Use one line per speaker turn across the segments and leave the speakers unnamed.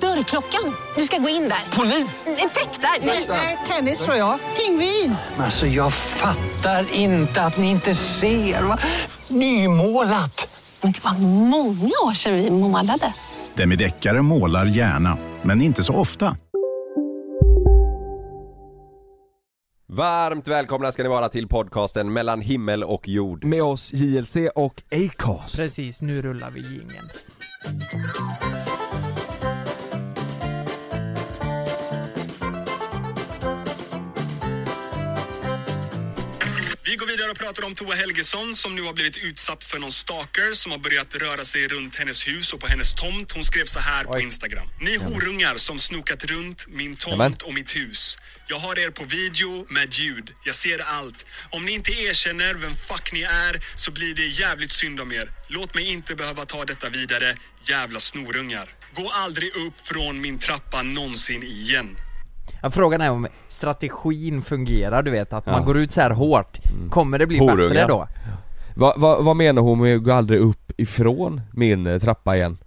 Dörrklockan. Du ska gå in där. Polis? Effektar? Nej, tennis tror jag. Pingvin.
Alltså jag fattar inte att ni inte ser. Va? Nymålat!
Men det var många år sedan vi målade.
Demideckare målar gärna, men inte så ofta.
Varmt välkomna ska ni vara till podcasten mellan himmel och jord.
med oss JLC och Acast.
Precis, nu rullar vi jingeln.
Vi går vidare och pratar om Tova Helgesson som nu har blivit utsatt för någon stalker som har börjat röra sig runt hennes hus och på hennes tomt. Hon skrev så här på Instagram. Ni horungar som snokat runt min
Jamen.
tomt och mitt hus. Jag har er på video med ljud. Jag ser allt. Om ni inte erkänner vem fuck ni är så blir det jävligt synd om er. Låt mig inte behöva ta detta vidare. Jävla snorungar. Gå aldrig upp från min trappa någonsin igen.
Ja, frågan är om strategin fungerar, du vet att man går ut så här hårt.
Mm.
Kommer det bli
Horunga.
bättre då?
Va, va, vad menar hon med att gå aldrig upp ifrån min eh, trappa igen?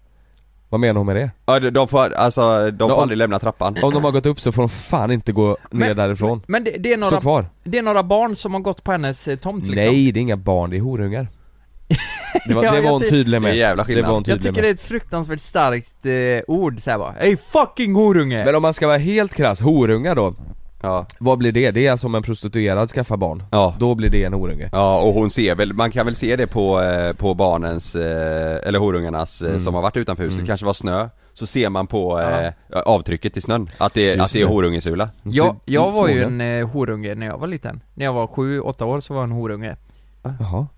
Vad menar hon med det?
Ja, de- de får, alltså, de får
om-
aldrig lämna trappan.
Om de har gått upp så får de fan inte gå ner
Men-
därifrån.
Men det, det, är
Stå
några,
kvar.
det är några barn som har gått på hennes eh, tomt liksom.
Nej, det är inga barn, det är horungar. Det var,
Ja,
det
jag
var hon
ty-
tydlig med.
Det är jävla skillnad.
Det var hon
Jag
tydlig
tycker det är
med.
ett fruktansvärt starkt eh, ord såhär bara. Ey fucking horunge!
Men om man ska vara helt krass, horungar då,
Ja.
vad blir det? Det är alltså om en prostituerad skaffar barn.
Ja.
Då blir det en horunge.
ja, och hon ser väl, man kan väl se det på, eh, på barnens, eh, eller horungarnas eh, som har varit utanför huset, kanske var snö. Så ser man på eh, avtrycket i snön, att det,
Just
att det är
det.
horungesula.
jag, jag var ju
förmodligen.
en eh, horunge när jag var liten. När jag var sju, åtta år så var jag en horunge.
Jaha.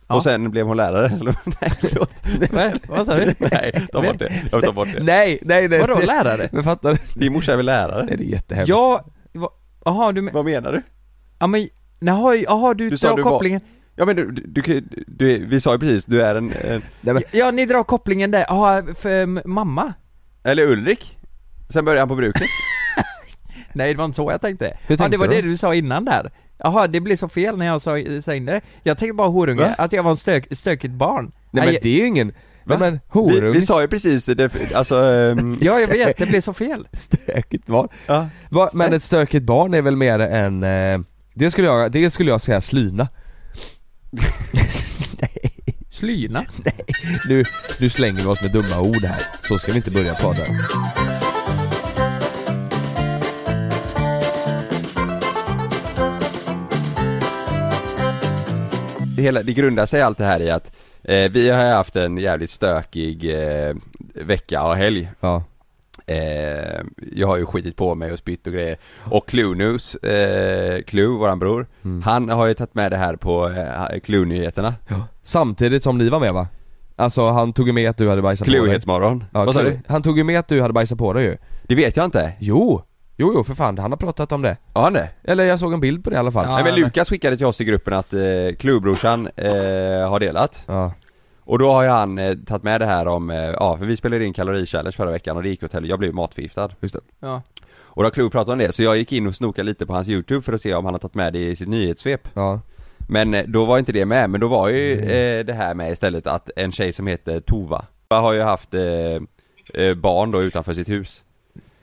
Ja.
Och sen blev hon lärare, eller? Nej, förlåt.
Va? Vad sa du?
Nej, ta bort det. Jag vill ta bort det.
Nej, nej, nej.
Vadå lärare?
Men fattar du?
Din morsa är väl lärare?
Nej, det är jättehemskt.
Jag, va- jaha du men,
Vad menar du?
ja men, jaha, jaha du,
Du sa
drar
du var-
kopplingen.
Ja men du, du, du, du vi sa ju precis, du är en, en
Nej, men,
Ja ni drar kopplingen där, jaha, för m- mamma?
eller Ulrik? Sen började han på bruket.
Nej det var inte så jag tänkte. ja
tänkte
det var
du?
det du sa innan där. Jaha, det blev så fel när jag sa, sa in det. Jag tänkte bara horunge,
Va?
att jag var en stök, stökigt barn.
nej, men
jag-
det är ju ingen... Nej, men
Vi,
horung.
vi sa ju precis, det, alltså, ehm,
Ja jag vet, det blev så fel.
Stökigt barn.
ja.
Va, men ett stökigt barn är väl mer än... Eh, det, skulle jag, det skulle jag säga slyna.
Slyna.
Nu, nu slänger vi oss med dumma ord här. Så ska vi inte börja prata.
det, hela, det grundar sig allt det här i att eh, vi har haft en jävligt stökig eh, vecka och helg.
Ja.
Eh, jag har ju skitit på mig och spytt och grejer. Och Clunus, eh, Clue, våran bror,
Mm.
han har ju tagit med det här på eh, Clue-nyheterna.
Samtidigt som ni var med va? Alltså han tog ju med att du hade bajsat på dig.
Cluehetsmorgon.
Ja,
Vad sa
Clue-
du?
Han tog ju med att du hade bajsat på dig ju.
Det vet jag inte.
Jo! Jo, jo för fan, han har pratat om det.
Har han det?
Eller jag såg en bild på det i alla fall.
Ja.
Nej men Lukas skickade till oss i gruppen att eh, Cluebrorsan eh, har delat
Ja.
Och då har ju han eh, tagit med det här om, eh, ja för vi spelade in kalorichallenge förra veckan och det gick åt helvete, jag blev matförgiftad Just det.
Ja.
Och då har Clue pratat om det, så jag gick in och snokade lite på hans youtube för att se om han har tagit med det i sitt nyhetssvep
ja.
Men eh, då var inte det med, men då var ju eh, det här med istället att en tjej som heter Tova Har ju haft eh, eh, barn då utanför sitt hus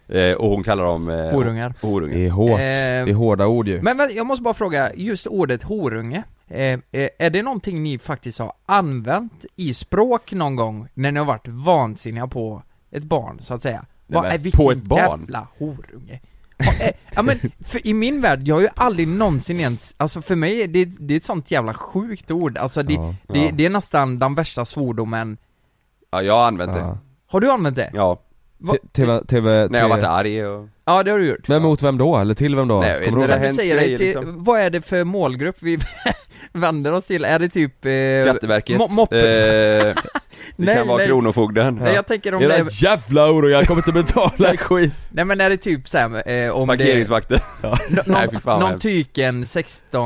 eh, Och hon kallar dem eh,
Horungar.
horungar.
Det är hårt.
Eh,
Det är hårda ord ju.
Men vänta, jag måste bara fråga, just ordet horunge, eh, eh, är det någonting ni faktiskt har använt i språk någon gång när ni har varit vansinniga på ett barn, så att säga? Vad
men,
är vilken
på ett barn?
jävla horunge? Ja, eh, ja men, för i min värld, jag har ju aldrig någonsin ens, alltså för mig, det, det är ett sånt jävla sjukt ord, alltså det,
Ja,
det,
ja.
det är nästan den värsta svordomen
Ja jag har använt det,
Ja.
Har du använt det?
ja
T- TV, TV,
När jag varit arg och...
Ja det har du gjort.
Men mot vem då? Eller till vem då?
Nej, jag vet
Kommer du ihåg
Du
inte. Det hänt
säger
grejer,
det till,
liksom.
vad är det för målgrupp vi vänder oss till? Är det typ... Eh,
Skatteverket,
mo- moppe-
eh, det
Nej,
kan vara
nej.
Kronofogden
Nej, jag tänker om
Era
det är,
jävla oro, jag kommer inte betala skit!
Nej men är det typ såhär, eh, om det...
Parkeringsvakter
Nå-
Nej, fy fan
Någon,
vad
någon
hemskt.
tyken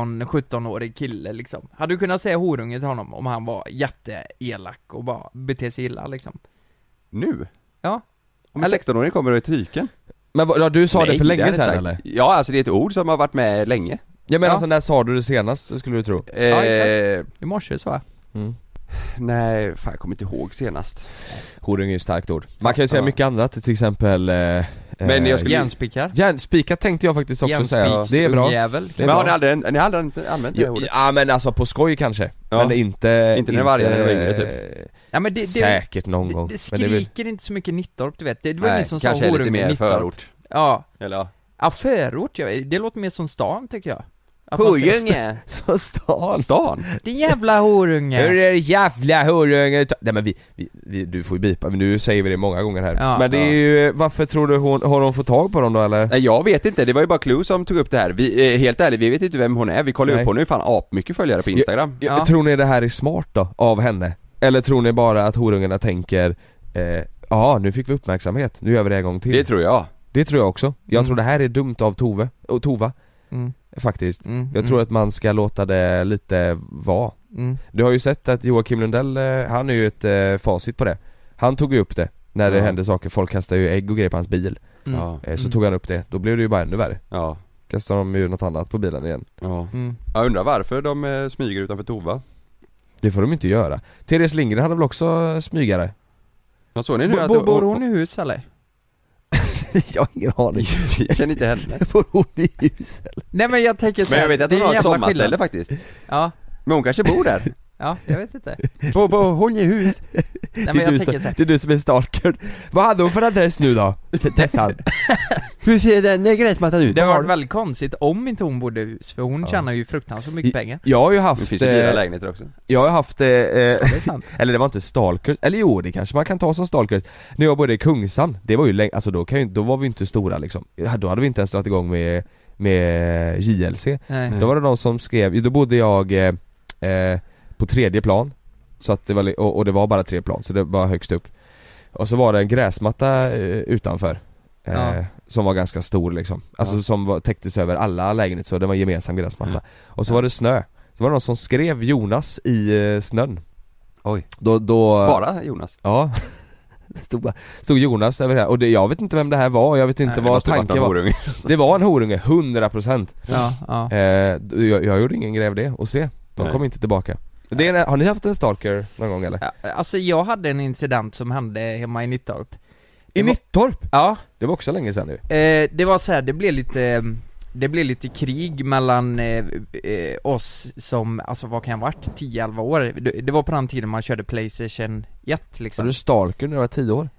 16-17-årig kille liksom. Hade du kunnat säga horunge till honom om han var jätteelak och bara bete sig illa liksom?
Nu?
Ja.
Om en 16-åring kommer och är tyken?
Men vad- ja, du sa det
Nej,
för länge
hade jag
sedan
sagt.
eller?
Ja, alltså det är ett ord som har varit med länge
Jag menar
Ja.
alltså när sa du det senast skulle du tro?
Ja, exakt.
Eh,
I morse så va?
Mm.
Nej, fan jag kommer inte ihåg senast
Horung är ju ett starkt ord. Man kan ju säga
Ja.
mycket annat, till exempel... Eh,
Men jag
eh,
skulle-
Järnspikar?
Järnspikar tänkte jag faktiskt också säga,
Järnspiks-
det är bra.
ungjävel.
Det är
Men har
bra.
ni aldrig, ni har aldrig inte använt det
Jo,
ordet?
Ja men alltså på skoj kanske,
Ja.
men inte...
Inte när jag var argare när jag var yngre,
typ.
Ja men det, det,
Säkert någon
det,
gång.
det
men det är väl-
skriker inte så mycket Nittorp du vet. Det, det var ingen som sa
kanske är
horunge
lite
i
mer
Nittorp.
förort
Ja.
Eller ja
Ja, förort ja. Det låter mer som stan tycker jag. Att man säger st-
Horunge!
Så stan.
Stan?
Din jävla horunge!
Hur är det jävla horunge? Nej men vi, vi, vi, du får ju bipa, men nu säger vi det många gånger här.
Ja.
men det är
Ja.
ju, varför tror du hon, har hon fått tag på dem då eller?
Nej jag vet inte, det var ju bara Clue som tog upp det här. Vi, eh, helt ärligt, vi vet inte vem hon är. Vi kollar
Nej.
upp hon har ju fan apmycket följare på Instagram.
Jag,
Ja.
Tror ni det här är smart då, av henne? Eller tror ni bara att horungarna tänker eh, Ja, nu fick vi uppmärksamhet, nu gör vi det en gång till.
Det tror jag.
Det tror jag också. Jag
Mm.
tror det här är dumt av Tove, och Tova,
Mm,
faktiskt.
mm,
Jag tror att man ska låta det lite vara.
mm,
Du har ju sett att Joakim Lundell, eh, han är ju ett eh, facit på det. Han tog ju upp det när det
Ja.
hände saker, folk kastade ju ägg och grejer på hans bil.
mm,
Ja.
Eh, Så
Mm.
tog han upp det, då blev det ju bara ännu värre.
Ja.
Kastade de ju något annat på bilen igen.
ja.
mm.
Jag undrar varför de eh, smyger utanför Tova.
Det får de inte göra. Therese Lindgren hade väl också eh, smygare?
Vad såg ni nu
Bo-
att
bo- Bor hon i hus eller?
jag har ingen aning.
Jag känner inte henne.
Bor hon i huset?
Nej men jag tänker
Men jag
såhär,
vet att
det är en
hon har ett
jävla
sommarställe
skillnad.
faktiskt.
Ja,
Men hon kanske bor där.
ja, jag vet inte.
På, på Honjehus.
Nej men jag tänker såhär,
det är du som är stalkern. Vad hade hon för adress nu då? T- Tessan?
Hur ser den gräsmattan ut?
det har varit väldigt konstigt om inte hon bodde i hus, för hon
Ja.
tjänar ju fruktansvärt mycket pengar.
Jag har ju
Det
haft...
finns ju dyra
eh,
lägenheter också.
jag har haft... eh, eh,
Det är sant.
Eller det var inte stalkers, eller jo det kanske man kan ta som stalkers När jag bodde i Kungsan, det var ju länge, alltså då, kan ju, då var vi inte stora liksom Ja, Då hade vi inte ens dragit igång med, med JLC
Nej.
Mm.
Då var det någon som skrev, då bodde jag eh, eh, på tredje plan så att det var, li- och, och det var bara tre plan, så det var högst upp Och så var det en gräsmatta eh, utanför eh,
Ja.
Som var ganska stor liksom, alltså
Ja.
som var, täcktes över alla lägenheter så det var en gemensam gräsmatta
Ja.
Och så
Ja.
var det snö, så var det någon som skrev Jonas i eh, snön
Oj.
Då, då
Bara Jonas.
Ja Det stod, bara- stod Jonas över det här, och det, jag vet inte vem det här var, jag vet inte
Nej,
vad tanken var
horunge.
Det var en horunge, 100%
Ja, ja.
eh, jag, jag gjorde ingen grej av det, och se, de
Nej.
kom inte tillbaka det är, en- Har ni haft en stalker någon gång eller?
Ja, Alltså jag hade en incident som hände hemma i Nittorp.
I
var-
Nittorp?
Ja,
Det var också länge sedan nu
eh, det var så här, det blev lite, eh, det blev lite krig mellan eh, eh, oss som, alltså vad kan jag ha varit, 10-11 år? Det, det var på den tiden man körde Playstation 1
Var
liksom.
du stalker när du var 10 år?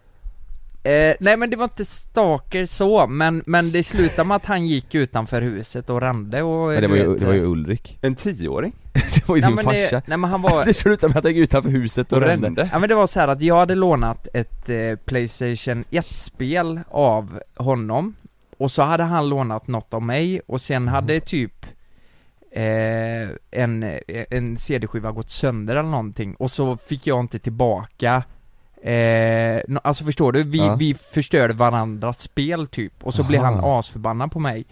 Eh, nej men det var inte stalker så, men, men det slutade med att han gick utanför huset och rände och...
Men det
du
var ju,
vet,
det
eh,
var ju Ulrik
En tioåring?
Det var ju
nej,
din
men
farsa
Det, nej men han var...
Det slutade med att han gick utanför huset och
Och
rände
rände?
Ja men det var så här att jag hade lånat ett eh, Playstation 1-spel av honom Och så hade han lånat något av mig och
Mm.
sen hade typ eh, en, eh, en CD-skiva gått sönder eller någonting och så fick jag inte tillbaka Eh, nå- alltså förstår du? Vi,
Ja.
vi förstörde varandras spel typ och så blev
Aha.
han asförbannad på mig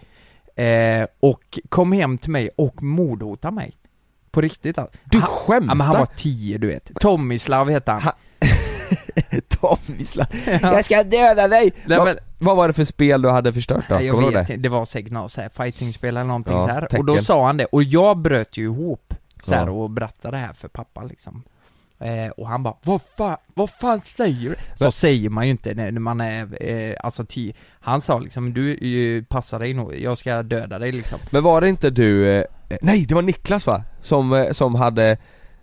eh, Och kom hem till mig och mordhotade mig På riktigt alltså.
Du
Han-
skämtar?
Ja, men han var tio du vet. Tomislav hette han.
Ha- Tomvisla
Ja.
ska döda dig!
Nej,
vad,
men-
vad var det för spel du hade förstört då?
Nej, jag
Kommer du ihåg
vet
det?
inte, det var säkert något så här fightingspel eller någonting
Ja,
så här. Och
tecken.
då sa han det, och jag bröt ju ihop så här
Ja.
och berättade det här för pappa liksom. Eh, och han bara vad fan, vad fan säger du? Så
Men-
säger man ju inte när när man är, eh, alltså tio. Han sa liksom du, eh, passa dig nog, jag ska döda dig liksom.
Men var det inte du, eh, nej det var Niklas va? Som, eh, som hade,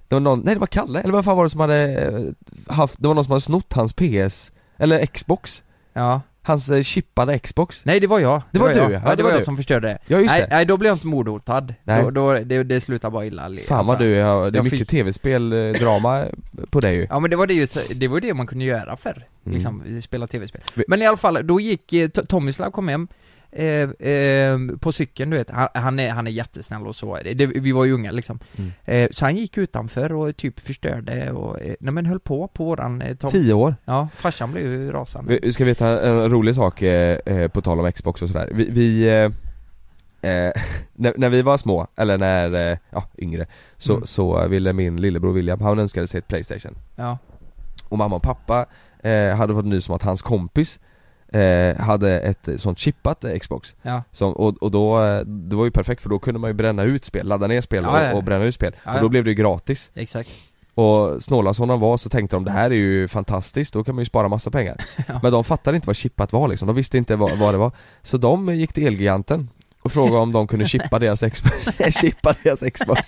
det var någon, nej det var Kalle, eller vad fan var det som hade eh, haft, det var någon som hade snott hans PS, eller Xbox
Ja,
Hans eh, chippade Xbox
Nej det var jag
Det var,
jag.
du
Ja, det var jag som förstörde det
Ja, just
nej,
det.
nej då blev jag inte mordhotad,
Nej.
då, då, det, det slutade bara illa alltså.
Fan vad du, är- det är
jag
mycket
fick-
tv-spel, eh, drama på dig ju
Ja men det var det ju, det var ju det man kunde göra förr,
Mm.
liksom, spela tv-spel Men i alla fall, då gick eh, T- Tomislav kom hem Eh, eh, på cykeln du vet, han, han, är, han är jättesnäll och så, det, vi var ju unga liksom
Mm.
eh, Så han gick utanför och typ förstörde och, eh, nej men höll på på våran eh, tomt
Tio år.
Ja, farsan blev ju rasande
Vi ska veta en rolig sak eh, eh, på tal om Xbox och sådär. Vi, vi eh, eh, när, när vi var små, eller när, eh, ja yngre, så,
Mm.
så ville min lillebror William, han önskade sig ett Playstation.
Ja,
Och mamma och pappa eh, hade fått nys om att hans kompis eh, hade ett sånt chippat eh, Xbox.
ja,
Som, och, och då, eh, det var ju perfekt för då kunde man ju bränna ut spel, ladda ner spel
Ja, ja, ja.
och, och bränna ut spel.
Ja,
och
ja.
då blev det ju gratis.
exakt
Och snåla som de var så tänkte de det här är ju fantastiskt, då kan man ju spara massa pengar
Ja.
Men de fattade inte vad chippat var liksom, de visste inte vad, vad det var Så de gick till Elgiganten och frågade om de kunde chippa deras Xbox, chippa deras Xbox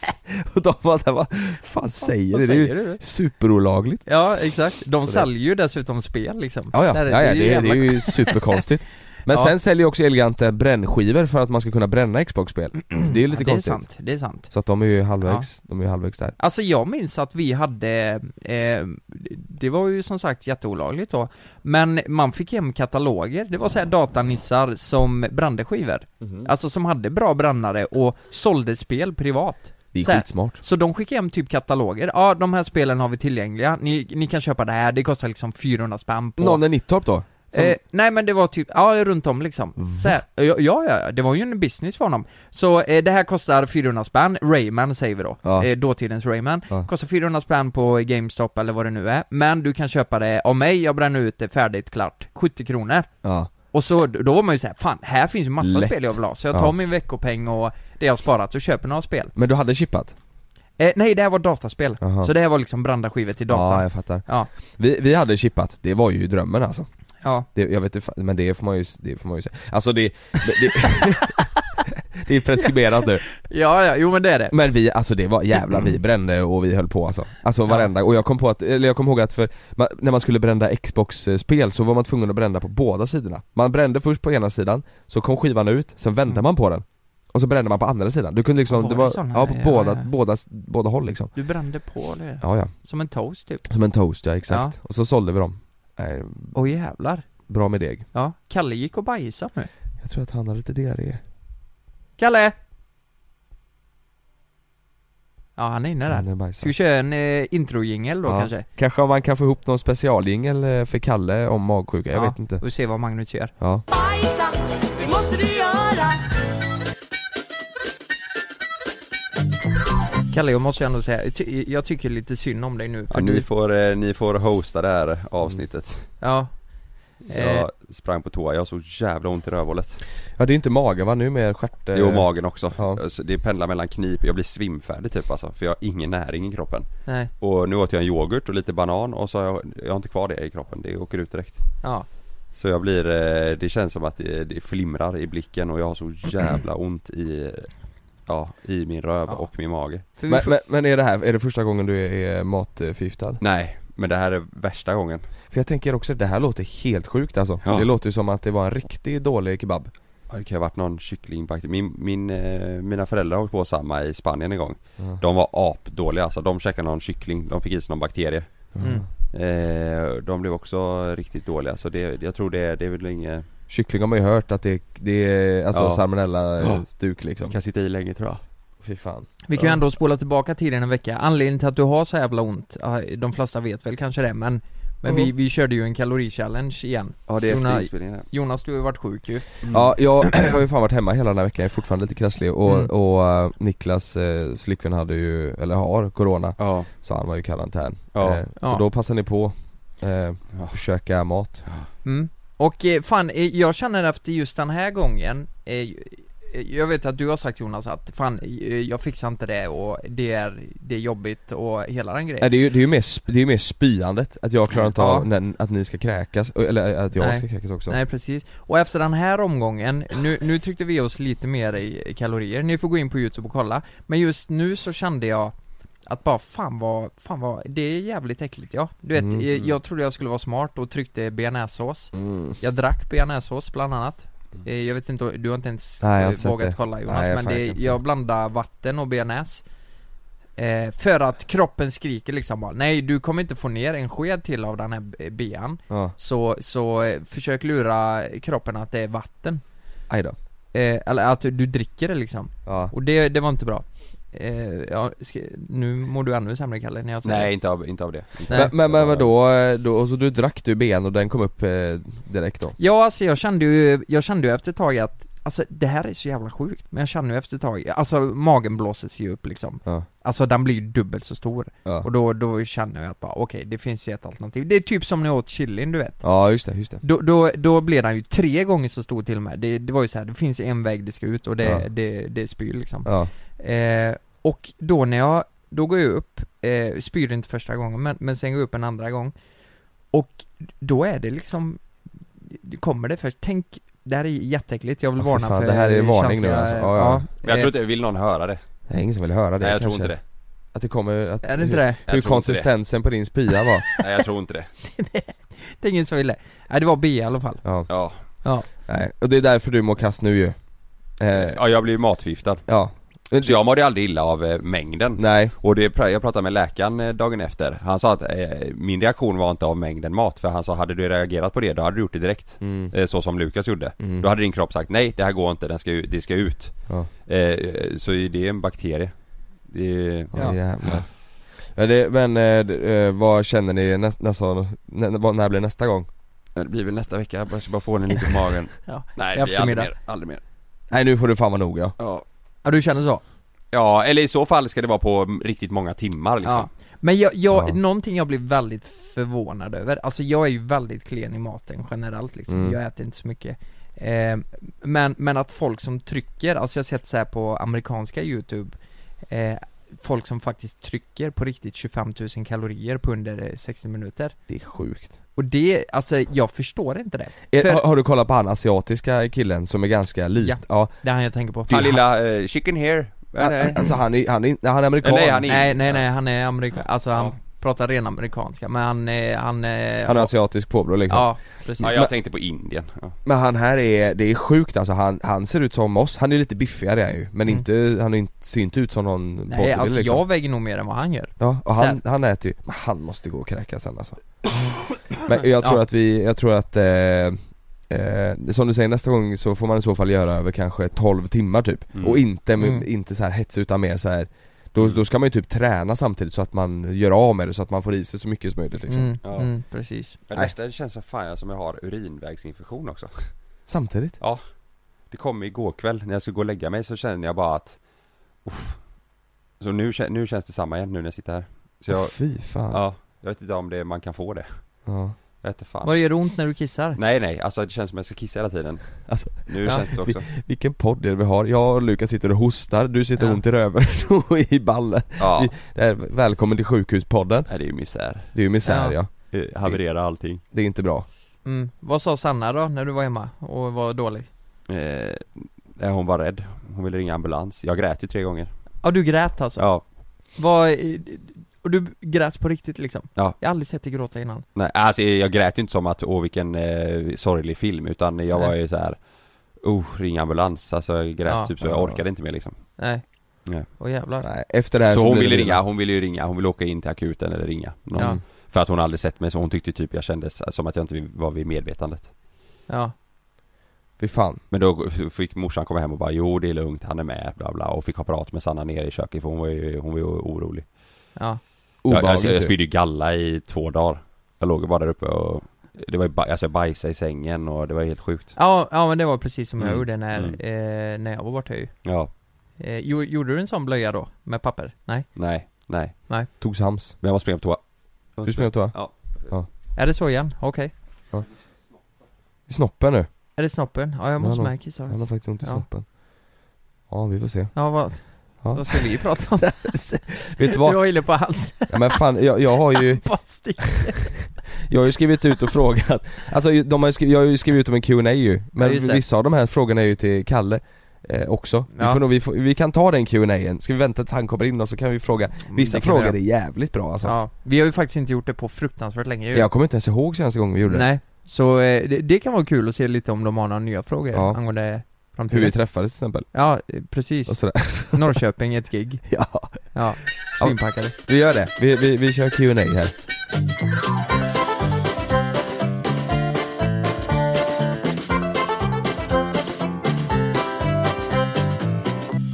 Och de var såhär, vad fan säger du? Det är
säger
ju
du?
superolagligt
Ja, exakt. De
Så det-
säljer ju dessutom spel liksom.
Ja ja,
Där-
ja, ja det, är, det är
jävla-
ju superkonstigt Men
Ja.
sen säljer ju också Elgiganten brännskivor för att man ska kunna bränna Xbox-spel Det är ju lite
ja, det
konstigt
är sant, det är sant.
Så att de är ju halvvägs, de är ju halvvägs där
Alltså jag minns att vi hade, eh, det var ju som sagt jätteolagligt då, men man fick hem kataloger, det var så här datanissar som brände skivor.
Mhm.
Alltså som hade bra brännare och sålde spel privat.
Det är
Så här.
skitsmart
Så de skickade hem typ kataloger, ja de här spelen har vi tillgängliga, ni, ni kan köpa det här, det kostar liksom 400 spänn på
Någon i Nittorp då? Som-
Eh, nej men det var typ, ja runt om liksom. Så här, ja, ja, ja, det var ju en business för honom. Så eh, det här kostar 400 spänn, Rayman säger vi då,
Ja.
eh, dåtidens Rayman.
Ja.
Kostar 400 spänn på GameStop eller vad det nu är, men du kan köpa det av mig, jag bränner ut det färdigt, klart, 70 kronor.
Ja
Och så, då var man ju såhär, fan här finns ju massa
Lätt.
spel jag vill ha, så jag
Ja.
tar min veckopeng och det jag har sparat och köper några spel.
Men du hade chippat?
Eh, nej, det här var dataspel.
Aha.
Så det här var liksom brända skivor till
Ja,
datan.
jag fattar.
Ja.
Vi, vi hade chippat, det var ju drömmen alltså.
Ja,
Det, jag vet inte, fa- men det får man ju, det får man ju säga. Alltså det, det, det, det är preskriberat nu.
ja, ja, jo men det är det.
Men vi, alltså det var jävlar vi brände och vi höll på alltså. Alltså varenda, och jag kom på att, eller jag kom ihåg att för, man, när man skulle brända Xbox-spel så var man tvungen att brända på båda sidorna. Man brände först på ena sidan, så kom skivan ut, sen vände man på den. Och så brände man på andra sidan. Du kunde liksom,
Mm. Var
det
det
var,
såna?
ja på
Ja,
båda,
ja.
båda, båda håll liksom.
Du brände på det,
Ja ja,
som en toast typ.
som en toast ja exakt. Och så sålde vi dem. Nej,
Åh jävlar.
bra med deg.
Ja, Kalle gick och bajsade nu.
Jag tror att han har lite diarré
Kalle! Ja, han är inne där.
Han är bajsad.
Ska vi köra en eh, introjingel då
Ja.
kanske?
Kanske om man kan få ihop någon specialjingel eh, för Kalle om magsjuka, jag
Ja,
vet inte
Och se vad Magnus gör.
Ja
Bajsa, det måste vi göra.
Kalle, jag måste ändå säga, jag ty- jag tycker lite synd om dig nu för
Ja,
du...
ni, får, eh, ni får hosta det här avsnittet
Ja. Eh,
Jag sprang på toa, jag har så jävla ont i rövhålet
Ja det är inte magen va, nu mer stjärt... eh,
Jo, magen också
ja.
Alltså, Det pendlar mellan knip, jag blir svimfärdig typ alltså För jag har ingen näring i kroppen
nej.
Och nu åt jag en yoghurt och lite banan och så har jag, jag har inte kvar det i kroppen, det åker ut direkt
Ja.
Så jag blir, eh, det känns som att det, det flimrar i blicken och jag har så jävla ont i Ja, i min röv
Ja.
och min mage
För vi
men,
får-
men, men är det här, är det första gången du är, är matförgiftad?
Nej, men det här är värsta gången
För jag tänker också, det här låter helt sjukt alltså
Ja.
Det låter ju som att det var en riktigt dålig kebab
Ja, Det kan ha varit någon kycklingbakterie, min, min, eh, mina föräldrar har åkt på samma i Spanien en gång
Ja.
De var apdåliga alltså, de käkade någon kyckling, de fick i sig någon bakterie
Mm.
eh, De blev också riktigt dåliga så det, jag tror det, det är väl inget,
Kyckling har man ju hört att det, det är, alltså
Ja.
salmonella eh,
Ja.
stuk liksom
kan sitta i länge tror jag
Fy fan
Vi kan ju
Ja.
ändå spola tillbaka tiden en vecka. Anledningen till att du har så jävla ont, ja, de flesta vet väl kanske det, men, men vi, vi körde ju en kalori-challenge igen.
Ja det är efter
Jonas-
inspelningen här.
Jonas, du har ju varit sjuk ju.
Ja, jag har ju fan varit hemma hela den här veckan, jag är fortfarande lite krasslig och,
Mm.
och eh, Niklas eh, flickvän hade ju, eller har, corona
Ja,
Så han var ju i karantän
Ja.
eh, Så
Ja.
då passade ni på eh, att köka mat
Mm. Och eh, fan, eh, jag känner efter just den här gången eh, eh, Jag vet att du har sagt Jonas att fan, eh, jag fixar inte det och det är, det är jobbigt och hela den
Nej,
grejen
Eh, det, är ju, det, är ju mer, sp- det är ju mer spyandet, att jag klarar inte
Ja.
av när, att ni ska kräkas, eller att jag
Nej.
ska kräkas också
Nej precis, och efter den här omgången, nu, nu tryckte vi oss lite mer i kalorier, ni får gå in på youtube och kolla Men just nu så kände jag Att bara fan vad, fan vad, det är jävligt äckligt ja. Du vet,
Mm.
jag, jag trodde jag skulle vara smart och tryckte bearnaisesås
Mm.
Jag drack bearnaisesås bland annat Eh, Jag vet inte, du har inte ens
Nej, jag har
eh,
inte sett
vågat
det.
kolla Jonas
Nej, jag
men
fan, jag
det,
kan inte
jag blandade vatten och bearnaise eh, För att kroppen skriker liksom bara, nej du kommer inte få ner en sked till av den här b- bean
Ja.
så, så eh, försök lura kroppen att det är vatten
Aj då.
Eh, eller att du dricker det liksom.
Ja.
Och det, det var inte bra. Eh, ja, ska, nu mår du ännu sämre Kalle när jag säger
Nej inte av, inte av det
Nej.
Men, men, men vadå, eh, då, och så du drack du ben och den kom upp eh, direkt då?
Ja alltså jag kände ju, jag kände ju efter ett tag att Alltså det här är så jävla sjukt, men jag kände ju efter ett tag, alltså magen blåses ju upp liksom
Ja.
Alltså den blir ju dubbelt så stor
Ja.
Och då, då känner jag att bara okej, det finns ju ett alternativ Det är typ som när jag åt chilin du vet
Ja just det, just det.
Då, då, då blev den ju tre gånger så stor till och med. Det, det var ju så här, det finns en väg det ska ut och det,
Ja.
det, det är spyr liksom.
Ja.
Eh, och då när jag, då går jag upp, eh, spyr inte första gången men, men sen går jag upp en andra gång. Och då är det liksom, det kommer det först, tänk, det här är jätteäckligt, jag vill
Ja, fy
varna
fan,
för
det här är
eh,
varning nu
känsliga-
alltså. Ja, ja.
Men jag
eh,
tror inte, vill någon höra det?
Det är ingen som vill höra det
Nej jag
kanske.
tror inte det
Att det kommer, att,
Är det inte
hur,
det?
Jag tror
hur
inte
konsistensen på din spya var
Nej jag tror inte det
det är ingen som vill det. Nej det var B i alla fall.
Ja.
Ja,
Ja.
Nej, och det är därför du mår kast nu ju eh,
ja jag blir matförgiftad
Ja
Så jag mådde aldrig illa av eh, mängden
Nej
Och det, pra- jag pratade med läkaren eh, dagen efter Han sa att eh, min reaktion var inte av mängden mat För han sa hade du reagerat på det då hade du gjort det direkt
Mm.
eh, Så som Lukas gjorde
Mm.
Då hade din kropp sagt nej det här går inte, den ska, u- det ska ut
Ja.
eh, Så det är en bakterie det,
Ja. Jävlar. Ja, det, men eh, d- eh, vad känner ni nästa, nästa, nä, vad- när blir nästa gång?
Det blir väl nästa vecka, jag ska bara få den lite i magen
Ja,
Nej
i
det blir aldrig
eftermiddag.
mer, aldrig mer
Nej nu får du fan vara nog ja.
Ja
Ja du känner så?
Ja, eller i så fall ska det vara på mm, riktigt många timmar liksom
Ja. Men jag, jag
Ja.
någonting jag blir väldigt förvånad över, alltså jag är ju väldigt klen i maten generellt liksom,
Mm.
jag äter inte så mycket eh, men, men att folk som trycker, alltså jag har sett så här på amerikanska youtube eh, Folk som faktiskt trycker på riktigt 25 000 kalorier på under eh, 60 minuter
Det är sjukt
Och det, alltså jag förstår inte det
Eh,
För-
har, har du kollat på han asiatiska killen som är ganska
Ja.
liten? Ja.
Det är han jag tänker på
Han lilla eh, chicken here
Han, alltså han är, han är, nej, han är amerikan
Nej, han är-
Nej nej nej, han är amerikan, alltså han pratar ren amerikanska men han, eh, han, eh,
Han har asiatisk påbrå liksom
Ja, precis
Ja, jag tänkte på Indien ja.
Men han här är, det är sjukt alltså, han, han ser ut som oss, han är lite biffigare är han ju men inte, han är inte, ser inte ut som någon
Nej
bodybuilder,
alltså
liksom.
jag väger nog mer än vad han gör
Ja, och
Så här.
han, han äter ju, men han måste gå och kräkas sen alltså Men jag tror
Ja.
att vi, jag tror att eh, eh, som du säger nästa gång så får man i så fall göra över kanske 12 timmar typ
Mm.
Och inte, med,
Mm.
inte så här hets utan mer så här. Då, då ska man ju typ träna samtidigt så att man gör av med det så att man får i sig så mycket som möjligt liksom
Mm,
Ja.
mm, precis.
Men det värsta, det känns som fan jag som jag har urinvägsinfektion också
Samtidigt?
Ja Det kom igår kväll när jag skulle gå och lägga mig så kände jag bara att uff. Så nu, kä- nu känns det samma igen nu när jag sitter här så jag,
Fy fan ja.
Ja, jag vet inte om det, man kan få det Jag vet inte fan
Vad gör det ont när du kissar?
Nej nej, alltså det känns som jag ska kissa hela tiden
Alltså,
Nu
Ja.
känns det så också
vi- Vilken podd det är vi har, jag och Lukas sitter och hostar, du sitter
Ja.
ont i röven och i ballen
Ja.
Vi- det är, Välkommen till sjukhuspodden,
Nej det är ju misär
det är ju misär ja,
Ja.
Eh, Haverera allting
det är inte bra
Mm. Vad sa Sanna då när du var hemma och var dålig?
eh, nej, Hon var rädd, hon ville ringa ambulans Jag grät ju tre gånger
Ja du grät alltså?
Ja,
Vad, eh, och du grät på riktigt liksom?
Ja.
Jag har aldrig sett dig gråta innan
Nej, alltså jag grät ju inte som att åh vilken eh, sorglig film utan jag var
Nej.
ju så här. Oh, ring ambulans, alltså jag grät
Ja.
typ så jag orkade inte mer liksom
Nej
Nej.
Åh jävlar
Nej, efter det här
Så hon
blir det
ville
bilar.
ringa, hon ville ju ringa, hon ville åka in till akuten eller ringa någon,
Ja.
För att hon aldrig sett mig så hon tyckte typ jag kändes som att jag inte var vid medvetandet
Ja
Fy fan
Men då f- fick morsan komma hem och bara jo det är lugnt, han är med, bla bla och fick ha prat med Sanna nere i köket för hon var ju, hon var ju orolig
Ja
jag,
Obehagligt
alltså, jag
typ.
ju.
spydde ju galla i två dagar Jag låg ju bara där uppe och det var ju, ba- alltså jag bajsade i sängen och det var helt sjukt
Ja, ja men det var precis som jag
Mm.
gjorde när, eh, när jag var borta ju
Ja,
eh, jo, Gjorde du en sån blöja då? Med papper? Nej?
nej, nej
Tog sams.
Men jag måste springa på toa
Du sprang på toa?
Ja.
Är det så igen? Okej
I snoppen nu?
Är det snoppen? Ja jag måste med kissa
Han har faktiskt ont i
Ja.
snoppen. Ja, vi får se.
Ja vad,
Ja.
vad ska vi prata om?
Vet du
Du
vad?
var inne på halsen
Ja, men fan, jag, jag har ju,
Bara stick.
jag har ju skrivit ut och frågat. Alltså de har ju skrivit, jag har ju skrivit ut om en Q&A ju. Men
Ja, just det.
vissa av de här frågorna är ju till Kalle. eh, också. Vi,
Ja.
får nog, vi, får, vi kan ta den Q&A'n ska vi vänta tills han kommer in och så kan vi fråga Vissa
Mm, det kan vi
frågor
göra.
är jävligt bra alltså.
Ja, vi har ju faktiskt inte gjort det på fruktansvärt länge ju.
Jag kommer inte ens ihåg senaste gången vi gjorde det
Nej, så eh, det, det kan vara kul att se lite om de har några nya frågor
Ja.
angående framtiden.
Hur vi träffades till exempel
Ja, eh, precis.
och sådär.
Norrköping, ett gig.
Ja.
Ja, svinpackade.
Vi gör det, vi, vi, vi kör Q&A här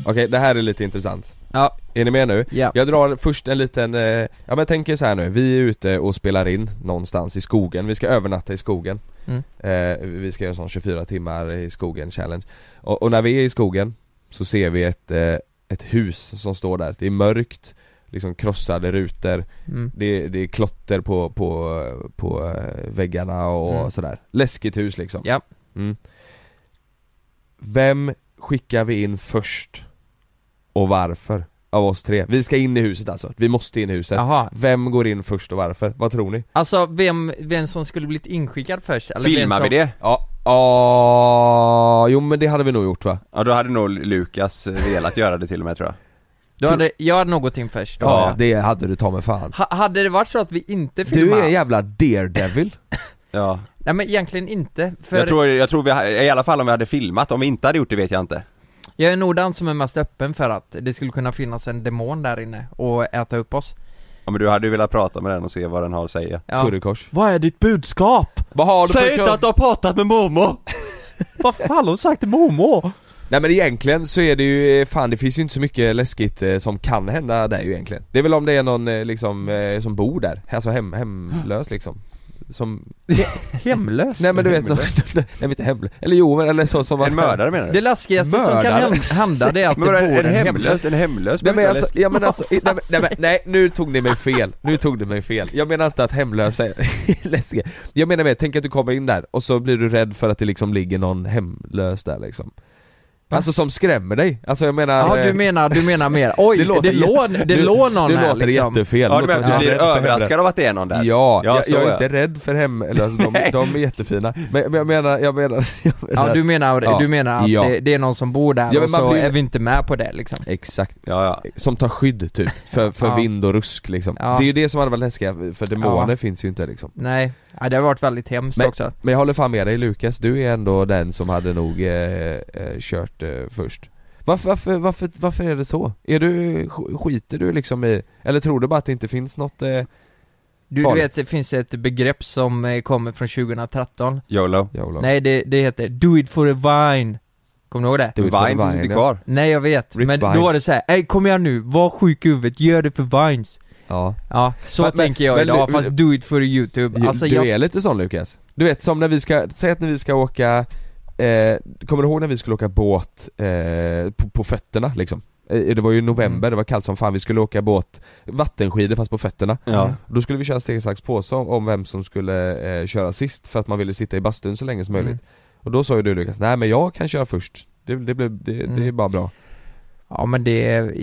Okej, det här är lite intressant.
Ja.
Är ni med nu?
Ja.
Jag drar först en liten, eh, ja men tänk er så här nu, vi är ute och spelar in någonstans i skogen, vi ska övernatta i skogen
Mm.
eh, Vi ska göra sån 24 timmar i skogen challenge och, och när vi är i skogen så ser vi ett, eh, ett hus som står där, det är mörkt Liksom krossade rutor,
Mm.
det, det är klotter på, på, på eh, väggarna och
Mm.
sådär Läskigt hus liksom
Ja.
mm. Vem skickar vi in först? Och varför? Av oss tre. Vi ska in i huset alltså, vi måste in i huset.
Jaha.
Vem går in först och varför? Vad tror ni?
Alltså, vem, vem som skulle blivit inskickad först? Eller vem
Filmar
som...
vi det?
Ja, ja, jo men det hade vi nog gjort va?
Ja då hade nog Lukas velat göra det till och med tror jag
Du hade, jag hade något in först då.
Ja, det hade du ta mig fan.
Ha, hade det varit så att vi inte
Du
filmade?
är en jävla daredevil.
Ja,
Nej men egentligen inte, för
jag tror, jag tror vi, ha- i alla fall om vi hade filmat, om vi inte hade gjort det vet jag inte
jag är nog den som är mest öppen för att det skulle kunna finnas en demon där inne och äta upp oss.
Ja men du hade ju velat prata med den och se vad den har att säga
Ja.
Currykors.
Vad är ditt budskap?
Vad har du
Säg
för
inte att du har pratat med mormor!
Vad fan har du sagt till mormor?
Nej men egentligen så är det ju, eh, fan det finns ju inte så mycket läskigt eh, som kan hända där ju egentligen Det är väl om det är någon eh, liksom, eh, som bor där, alltså hem, hemlös liksom Som,
Hemlös?
nej men du vet, någon, nej men inte hemlös, eller jo men eller så som
En mördare menar du?
Det läskigaste som kan
Mördare.
hän- hända det är att det
Men
bor
vadå,
en,
en, en
hemlös
hemlös, en hemlös
Nej men
behöver inte vara
alltså,
läskig.
jag menar alltså, nej, men, nej, men, nej nu tog ni mig fel, nu tog ni mig fel Jag menar inte att hemlösa är läskiga Jag menar mer, tänk att du kommer in där och så blir du rädd för att det liksom ligger någon hemlös där liksom Alltså som skrämmer dig, alltså jag menar
Ja
eh,
du menar, du menar mer, oj det,
låter jätte-
låg, det
du-
låg någon
du
här
låter
liksom
jättefel,
Ja
Det
du
låter som
menar
att jag
att du
är
blir
rädd för hemlösa.
överraskad av att det är någon där?
Ja, jag,
så
jag är inte rädd för hemlösa, de,
Nej.
de är jättefina Men, men jag menar, jag menar, jag menar
Ja du menar,
Ja.
du menar att
Ja.
det, det är någon som bor där
Ja, men
och
man
så
blir-
är vi inte med på det liksom
Exakt,
Ja, ja.
som tar skydd typ, för, för
Ja.
vind och rusk liksom
Ja.
Det är ju det som hade varit läskiga, för demoner
Ja.
finns ju inte liksom
Nej, ja, det har varit väldigt hemskt
Men-
också
Men jag håller fan med dig Lukas, du är ändå den som hade nog eh, eh, kört eh, först varför, varför, varför, varför är det så? Är du, sk- skiter du liksom i, eller tror du bara att det inte finns något eh,
Du, du
Farligt.
vet, det finns ett begrepp som eh, kommer från 2013
YOLO
YOLO?
Nej det, det heter 'Do it for a vine' Kommer du ihåg det?
Du vet vad
Vine finns inte
är. typ
kvar
Nej jag vet,
Rip
men
Vine.
då var det så här, "Ey, kom igen nu, var sjuk i huvudet, gör det för vines'
Ja
Ja, så
Men- men-
tänker jag
men-
idag,
men-
fast do it for youtube Alltså
du
jag,
är lite sån Lukas Du vet som när vi ska, säg att när vi ska åka eh, Kommer du ihåg när vi skulle åka båt eh, på, på fötterna liksom? Eh, Det var ju november,
Mm.
det var kallt som fan, vi skulle åka båt Vattenskidor fast på fötterna
Ja.
Då skulle vi köra steg, sax, påse om, om vem som skulle eh, köra sist för att man ville sitta i bastun så länge som möjligt
Mm.
Och då sa ju du Lukas, nej men jag kan köra först Det, det, blev, det, det är
Mm.
bara bra
Ja men det, är-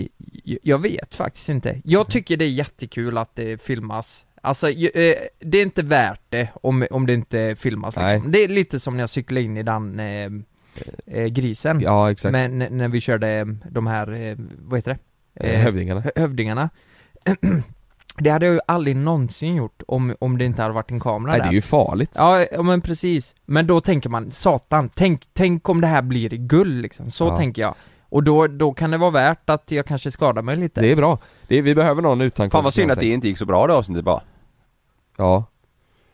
jag vet faktiskt inte.
Mm.
Jag tycker det är jättekul att det filmas. Alltså, ju- eh, det är inte värt det om, om det inte filmas
Nej.
liksom. Det är lite som när jag cyklade in i den eh, eh, grisen.
Ja exakt,
men n- när vi körde eh, de här, eh, vad heter det?
Eh, Hövdingarna
hö- hövdingarna. det hade jag ju aldrig någonsin gjort om, om det inte hade varit en kamera
Nej
där.
det är ju farligt
Ja, ja, men precis. Men då tänker man, satan, tänk, tänk om det här blir guld liksom. Så
Ja.
tänker jag. Och då, då kan det vara värt att jag kanske skadar mig lite.
Det är bra, det är, vi behöver någon utan
Fan vad synd att
konsekvenser.
det inte gick så bra det avsnittet bara
Ja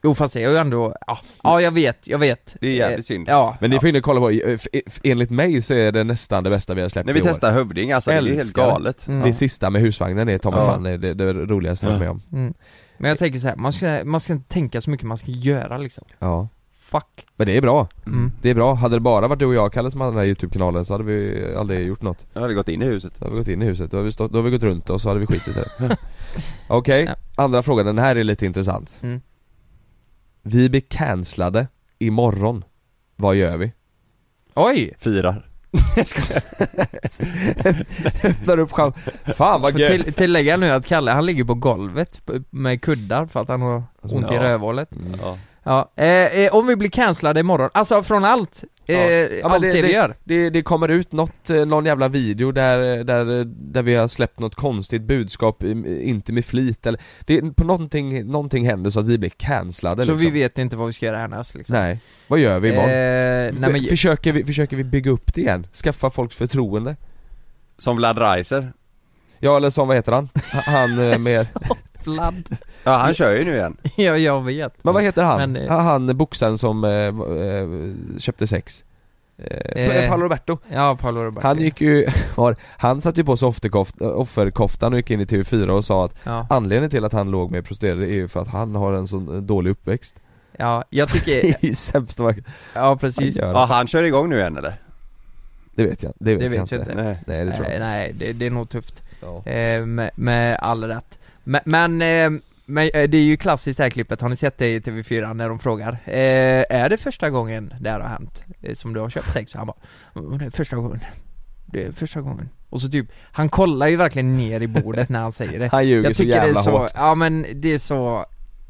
Jo fast det är ju ändå, ja, ja jag vet, jag vet.
Det är jävligt
Eh,
synd.
Ja.
Men ni får in och kolla på, eh, f- f- enligt mig så är det nästan det bästa vi har släppt
När vi
i år.
testar Hövding alltså, det är helt
Älskar.
galet
Mm.
Det sista med husvagnen är ta mig
Ja.
fan det, det roligaste jag varit med om
Mm. Men jag tänker så här, man ska, man ska inte tänka så mycket, man ska göra liksom.
Ja
Fuck.
Men det är bra,
Mm.
det är bra. Hade det bara varit du och jag Kalle som hade den här youtube-kanalen så hade vi aldrig gjort något
Nu har vi gått in i huset
Då hade vi gått in i huset, då hade vi, stått, då hade vi gått runt och så hade vi skitit i det Okej, andra frågan, den här är lite intressant
Mm.
Vi blir cancellade imorgon, vad gör vi?
Oj!
Firar
Öppnar upp chans... Fan vad
Får
gött!
till, tillägga nu att Kalle, han ligger på golvet p- med kuddar för att han har ont i
Alltså, Ja.
rövhålet.
Mm.
ja.
Ja, eh, eh, om vi blir cancellade imorgon, alltså från allt, eh,
Ja, men
allt det, vi gör.
Det, det, det kommer ut något, eh, någon jävla video där, eh, där, där vi har släppt något konstigt budskap, i- inte med flit eller, det, på någonting, någonting händer så att vi blir cancellade
Så
liksom.
vi vet inte vad vi ska göra härnäst liksom.
Nej, vad gör vi imorgon?
Eh, nej, men-
F- försöker, vi, försöker vi bygga upp det igen? Skaffa folks förtroende?
Som Vlad Reiser?
Ja eller som, vad heter han? H- Han eh, med...
Fladd.
Ja han kör ju nu igen
ja, jag vet.
Men vad heter han?
Men, eh,
Ha- han boxaren som eh, v- eh, köpte sex? Eh,
Eh,
Paolo Roberto?
Ja, Paolo Roberto.
Han gick ju, var, han satte ju på sig offerkoft, offerkoftan och gick in i TV4 och sa att
Ja.
anledningen till att han låg med prostituerade är ju för att han har en sån eh, dålig uppväxt
Ja, jag
Det
tycker...
är ju sämst man
ja, Eh, precis.
kan göra.
Ja han kör igång nu igen eller?
Det vet jag, det vet,
det
jag
vet vi
inte.
inte.
Nej. det tror jag
Nej,
inte.
Eh, nej det, det är nog tufft.
Ja.
Eh, med, med all rätt. Men, men, eh, men eh, det är ju klassiskt det här klippet, har ni sett det i TV4 när de frågar? Eh, är det första gången det här har hänt? eh, Som du har köpt sex? Och han bara, "Mm, det är första gången. Det är första gången. Och så typ, han kollar ju verkligen ner i bordet när han säger det.
Han ljuger
Jag
så
tycker det är
jävla
så,
hårt.
Ja men det är så,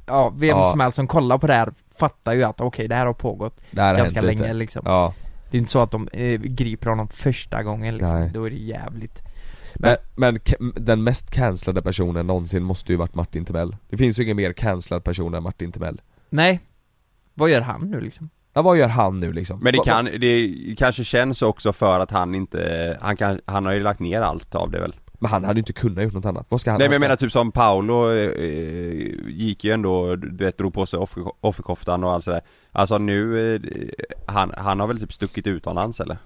ja vem
Ja.
som helst som kollar på det här fattar ju att okej det här har pågått
Det här har
ganska
hänt
länge
lite.
liksom.
Ja.
Det är inte så att de eh, griper honom första gången liksom,
Nej.
då är det jävligt
Men, men ca- den mest cancellade personen någonsin måste ju varit Martin Timell Det finns ju ingen mer cancellad person än Martin Timell
Nej, vad gör han nu liksom?
Ja vad gör han nu liksom?
Men det
Vad-
kan, det kanske känns också för att han inte, han kan, han har ju lagt ner allt av det väl
Men han hade ju inte kunnat gjort något annat, vad ska han
Nej men jag
han
menar
ska-
typ som Paolo eh, gick ju ändå, du vet, drog på sig offer, offerkoftan och allt sådär Alltså nu, eh, han, han har väl typ stuckit utomlands eller?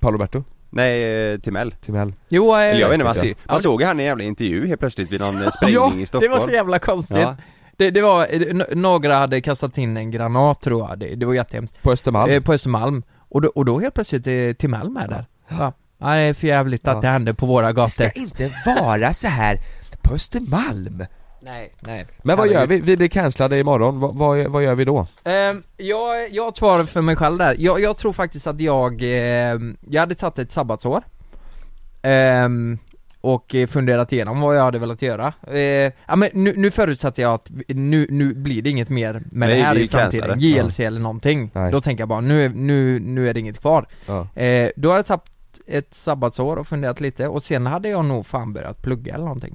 Paolo Berto?
Nej, eh, Timell
Timell
Jo, eh,
Eller jag vet inte, man, ser,
Ja,
man såg ju han i en jävla intervju helt plötsligt vid någon eh, sprängning i
det
Stockholm
var så jävla konstigt
Ja.
det, det var, eh, n- några hade kastat in en granat tror jag, det, det var jättehemskt
På Östermalm?
eh, På Östermalm, och då, och då helt plötsligt eh, är Timell med där ja. ja, det är för jävligt att
Ja.
det händer på våra gator
Det ska inte vara så här på Östermalm
Nej, nej
Men vad gör
Herregud.
vi? Vi blir cancellade imorgon, vad, vad, vad gör vi då?
Ehm, jag, jag svarar för mig själv där. Jag, jag tror faktiskt att jag, ehm, jag hade tagit ett sabbatsår Ehm, Och eh, funderat igenom vad jag hade velat göra. Ehm, ja, men nu, nu förutsatte jag att vi- nu, nu blir det inget mer med
Nej,
det här
vi
i framtiden,
cancelar det.
JLC eller någonting.
Nej.
Då tänker jag bara nu, är- nu, nu är det inget kvar.
Ja.
Ehm, då har jag tagit ett sabbatsår och funderat lite och sen hade jag nog fan börjat plugga eller någonting.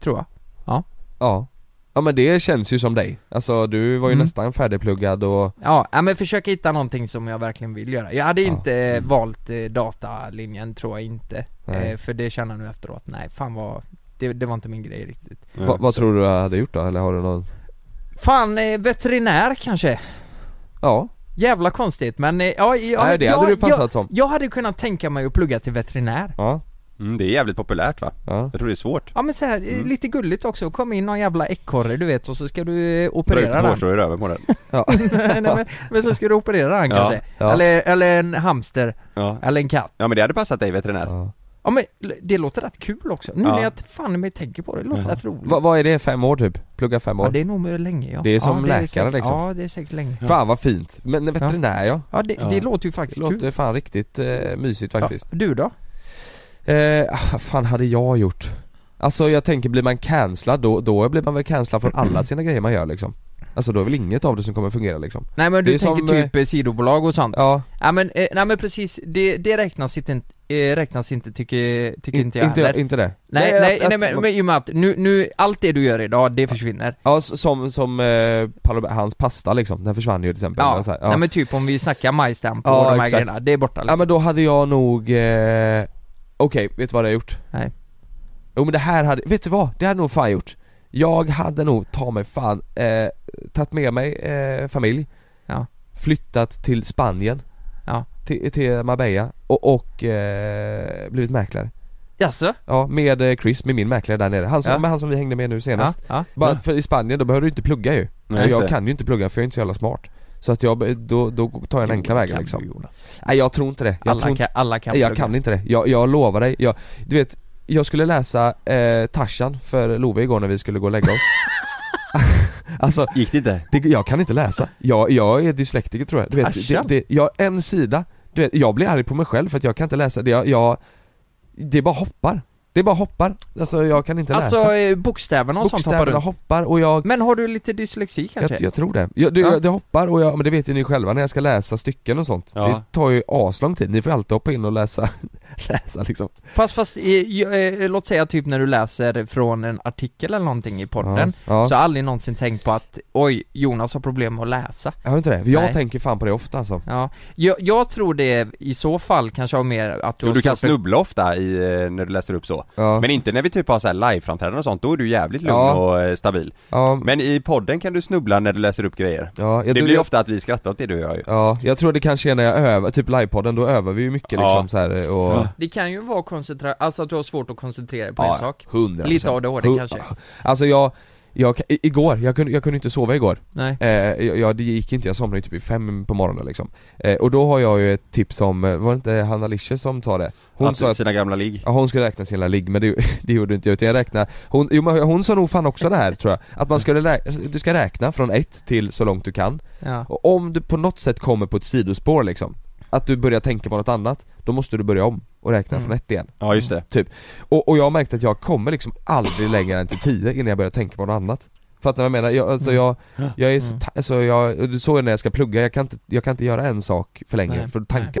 Tror jag. Ja.
Ja Ja men det känns ju som dig, alltså du var ju
Mm.
nästan färdigpluggad och
Ja, ja, men försöka hitta någonting som jag verkligen vill göra. Jag hade inte eh, valt eh, datalinjen, tror jag inte.
Nej.
Eh, för det känner jag nu efteråt, nej fan vad, det, det var inte min grej riktigt.
Va, vad tror du jag hade gjort då? Eller har du någon?
Fan, eh, veterinär kanske?
Ja,
Jävla konstigt men, eh, ja, jag,
Nej, det
jag,
hade du passat
jag,
som.
Jag hade kunnat tänka mig att plugga till veterinär.
ja,
mm, Det är jävligt populärt va?
ja
Jag tror det är svårt
Ja men så här, eh,
Mm.
lite gulligt också, kom in någon jävla ekorre du vet och så ska du eh,
Dra ut
operera
ett
den.
hårstrå i röven på den
nej, men, men så ska du operera den
Ja,
kanske.
ja.
Eller, eller en hamster,
ja.
eller en katt.
ja men det hade passat dig veterinär
ja.
Ja men det låter rätt kul också, nu
Ja.
när jag t- fan mig tänker på det, det låter rätt roligt
Va, Vad är det? Fem år typ? Plugga fem år?
Ja det är nog länge ja
Det är som
ja,
läkare,
säkert,
liksom.
Ja det är säkert länge
Fan vad fint! Men veterinär ja,
Ja det, det
Ja.
låter ju
det
faktiskt kul
låter fan riktigt eh, mysigt faktiskt
ja, Du då?
Eh, ah, vad fan hade jag gjort? Alltså jag tänker, blir man cancellad då, då blir man väl cancellad från alla sina grejer man gör liksom Alltså då är väl inget av det som kommer fungera liksom
Nej men
Det
du
är
tänker
som,
typ eh, sidobolag och sånt? Ja,
Ja,
men, eh, nej men precis, det, det räknas inte, eh, räknas inte tycker, tycker
in,
inte jag
inte,
heller
inte det?
Nej, nej, nej,
att- att-
men, men i och med att nu, nu, allt det du gör idag, det försvinner
Ja, s- som, som eh, Paolo, hans pasta liksom, den försvann ju till exempel
Ja,
Och så här,
nej men typ om vi snackar majstamp och
alltså, Ja,
de här
exakt.
grejerna, det är borta
Ja
liksom.
men då hade jag nog, eh, okej, vet du vad jag gjort?
liksom. Nej.
Jo men det här hade, vet du vad? Det hade nog fan gjort Jag hade nog, ta mig fan, eh, tagit med mig eh, familj
Ja.
Flyttat till Spanien
Ja.
Till, till Marbella och, och eh, blivit mäklare
Jaså?
Ja, med eh, Chris, med min mäklare där nere, han som,
Ja.
men han som vi hängde med nu senast
Ja, ja.
Bara för i Spanien, då behöver du inte plugga ju
Nej,
Och
just det.
Jag kan ju inte plugga för jag är inte så jävla smart Så att jag, be- då, då tar jag den enkla
Jo,
vägen
kan
liksom
du, Jonas.
Nej jag tror inte det, jag
Alla
tror
kan, alla kan
jag
plugga.
kan inte det, jag, jag lovar dig, jag, du vet Jag skulle läsa eh, Tarzan för Love igår när vi skulle gå och lägga oss Alltså,
Gick det inte?
det, jag kan inte läsa, jag, jag är dyslektiker tror jag, du vet, det,
Tarzan?
det, jag, en sida, du vet, jag blir arg på mig själv för att jag kan inte läsa det, jag, jag det bara hoppar Det bara hoppar, alltså jag kan inte
Alltså
läsa
eh, bokstäverna och sånt hoppar
Bokstäverna
runt.
hoppar och jag
Men har du lite dyslexi kanske?
Jag, jag tror det. Jag, det,
Ja.
jag, det hoppar och jag, men det vet ju ni själva när jag ska läsa stycken och sånt
Ja.
Det tar ju aslång tid, ni får ju alltid hoppa in och läsa, läsa liksom
Fast, fast eh, ju- eh, låt säga typ när du läser från en artikel eller någonting i podden
Ja, ja.
Så har jag aldrig någonsin tänkt på att oj, Jonas har problem med att läsa
Har du inte det? För jag
Nej.
tänker fan på det ofta alltså
Ja, jag, jag tror det i så fall kanske har mer att du
Jo,
har
du kan
svårt för-
snubbla ofta i, eh, när du läser upp så.
Ja.
Men inte när vi typ har så här live-framträdanden och sånt, då är du jävligt lugn
Ja.
och eh, stabil.
Ja.
Men i podden kan du snubbla när du läser upp grejer.
Ja, jag
det
tror
blir
jag-
ofta att vi skrattar åt det du och jag ju.
Ja, jag tror det kanske är när jag övar, typ livepodden, då övar vi ju mycket
Ja.
liksom så här och
Ja.
Det kan ju vara koncentra... alltså att du har svårt att koncentrera dig på
Ja,
en sak
100%.
Lite ADHD
Hu-
kanske
Alltså jag, jag kan- i- igår, jag kunde, jag kunde inte sova igår
Nej.
eh, jag, jag, Det gick inte, jag somnade ju typ i fem på morgonen liksom eh, Och då har jag ju ett tips om, eh, var det inte Hanna Lische som tar det?
Att- sina gamla ligg
Ja hon skulle räkna sina ligg men det, det gjorde inte jag utan jag räknade hon, jo, men hon sa nog fan också det här tror jag Att man ska, rä- du ska räkna från ett till så långt du kan
Ja.
Och om du på något sätt kommer på ett sidospår liksom Att du börjar tänka på något annat Då måste du börja om och räkna
Mm.
från ett igen
Ja, just det.
Typ, och, och jag har märkt att jag kommer liksom aldrig längre än till tio innan jag börjar tänka på något annat Fattar du vad jag menar? Jag, alltså jag,
Mm.
jag är så, ta- alltså jag, och det- så är det när jag ska plugga, jag kan inte, jag kan inte göra en sak för länge
Nej.
för tankar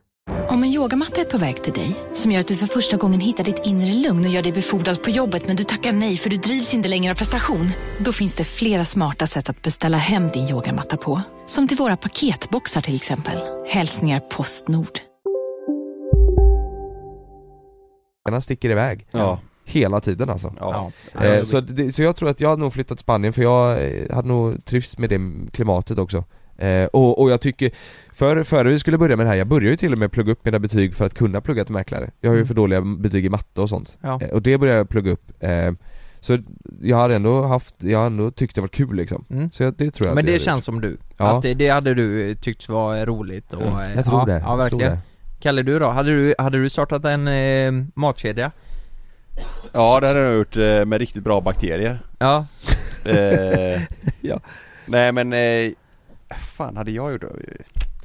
Om en yogamatta är på väg till dig, som gör att du för första gången hittar ditt inre lugn och gör dig befordrad på jobbet men du tackar nej för du drivs inte längre av prestation. Då finns det flera smarta sätt att beställa hem din yogamatta på. Som till våra paketboxar till exempel. Hälsningar Postnord.
sticker iväg
Ja.
Hela tiden alltså
ja.
Eh, så, det, så jag tror att jag hade nog flyttat till Spanien för jag eh, hade nog trivts med det klimatet också eh, och, och jag tycker, för, före vi skulle börja med det här, jag började ju till och med plugga upp mina betyg för att kunna plugga till mäklare Jag har ju
Mm.
för dåliga betyg i matte och sånt
Ja.
eh, Och det började jag plugga upp eh, Så jag har ändå haft, jag har ändå tyckt det var kul liksom
Mm.
Så jag, det tror jag
Men
att jag
det
hade
känns
gjort.
som du,
Ja.
att det, det hade du eh, tyckt var roligt och eh,
Jag tror
ja,
det.
Ja
Jag
verkligen
tror det.
Kalle du då, hade du, hade du startat en eh, matkedja?
Ja det hade jag gjort eh, med riktigt bra bakterier
Ja
eh, Nej men, eh, fan hade jag gjort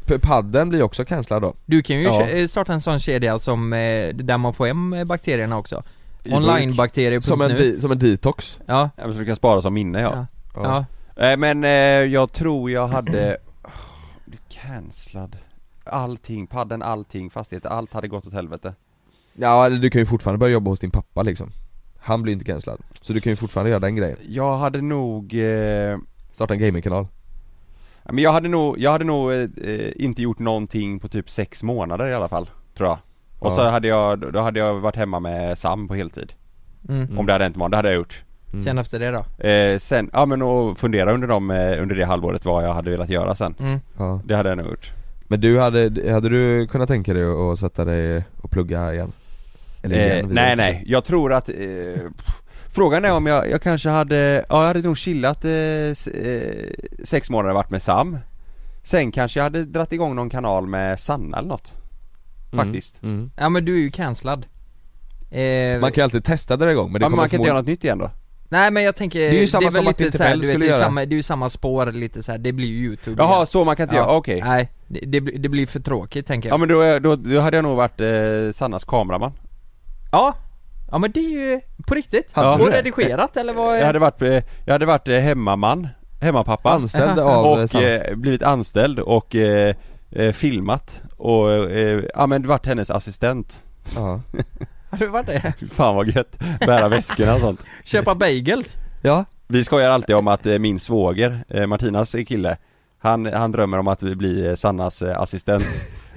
P- Padden blir ju också cancellad då
Du kan ju
Ja.
kö- eh, starta en sån kedja som, eh, där man får hem eh, bakterierna också
I burk.
Onlinebakterier.nu
Som en di-
som en detox
Ja
Ja men så du kan spara som minne ja,
Ja.
Eh, Men eh, jag tror jag hade oh, blivit cancellad Allting, padden, allting, fastigheter, allt hade gått åt helvete
Ja eller du kan ju fortfarande börja jobba hos din pappa liksom Han blir inte cancellad, så du kan ju fortfarande göra den grejen
Jag hade nog eh...
Starta en gamingkanal
Ja, Men jag hade nog, jag hade nog eh, eh, inte gjort någonting på typ sex månader i alla fall, tror jag Och
Ja.
så hade jag, då hade jag varit hemma med Sam på heltid
Mm.
Om det hade hänt imorgon, det hade jag gjort
Mm.
Sen efter det då?
Eh, sen, ja men och fundera under, dem, eh, under det halvåret vad jag hade velat göra sen
Mm.
Ja.
Det hade jag nog gjort
Men du hade, hade du kunnat tänka dig att sätta dig och plugga igen? vi
eh, Nej
vet
nej, jag tror att eh, pff, Frågan är om jag, jag kanske hade, ja jag hade nog chillat eh, s- eh, sex månader varit med Sam Sen kanske jag hade dratt igång någon kanal med Sanna eller något
Mm.
Faktiskt
Ja men du är ju cancellad eh,
inte. Man kan ju alltid testa det igång men det
Ja, men
kommer
man kan inte
förmodligen-
göra något nytt igen då?
Nej men jag tänker,
Det är ju samma
väl
som att
lite
inte
så här,
Pell
du vet,
skulle
det är
göra.
samma, Det är ju samma spår lite så här. det blir ju youtube
Jaha,
igen.
så man kan inte göra, okej.
Nej, det, det, blir- det blir för tråkigt tänker jag
Ja men då, är- då, då hade jag nog varit eh, Sannas kameraman
Ja, ja men det är ju på riktigt.
Hade
och
du det?
redigerat eller vad?
Jag hade varit, eh, jag hade varit eh, hemmaman, hemmapappa
Anställd av, eh,
Och
Sanna.
eh, blivit anställd och eh, eh, filmat och, eh, ja men varit hennes assistent
Ja.
Har du varit det?
Fan vad gött, bära väskorna och sånt
Köpa bagels?
Ja
Vi skojar alltid om att eh, min svåger, eh, Martinas kille han, han drömmer om att bli eh, Sannas eh, assistent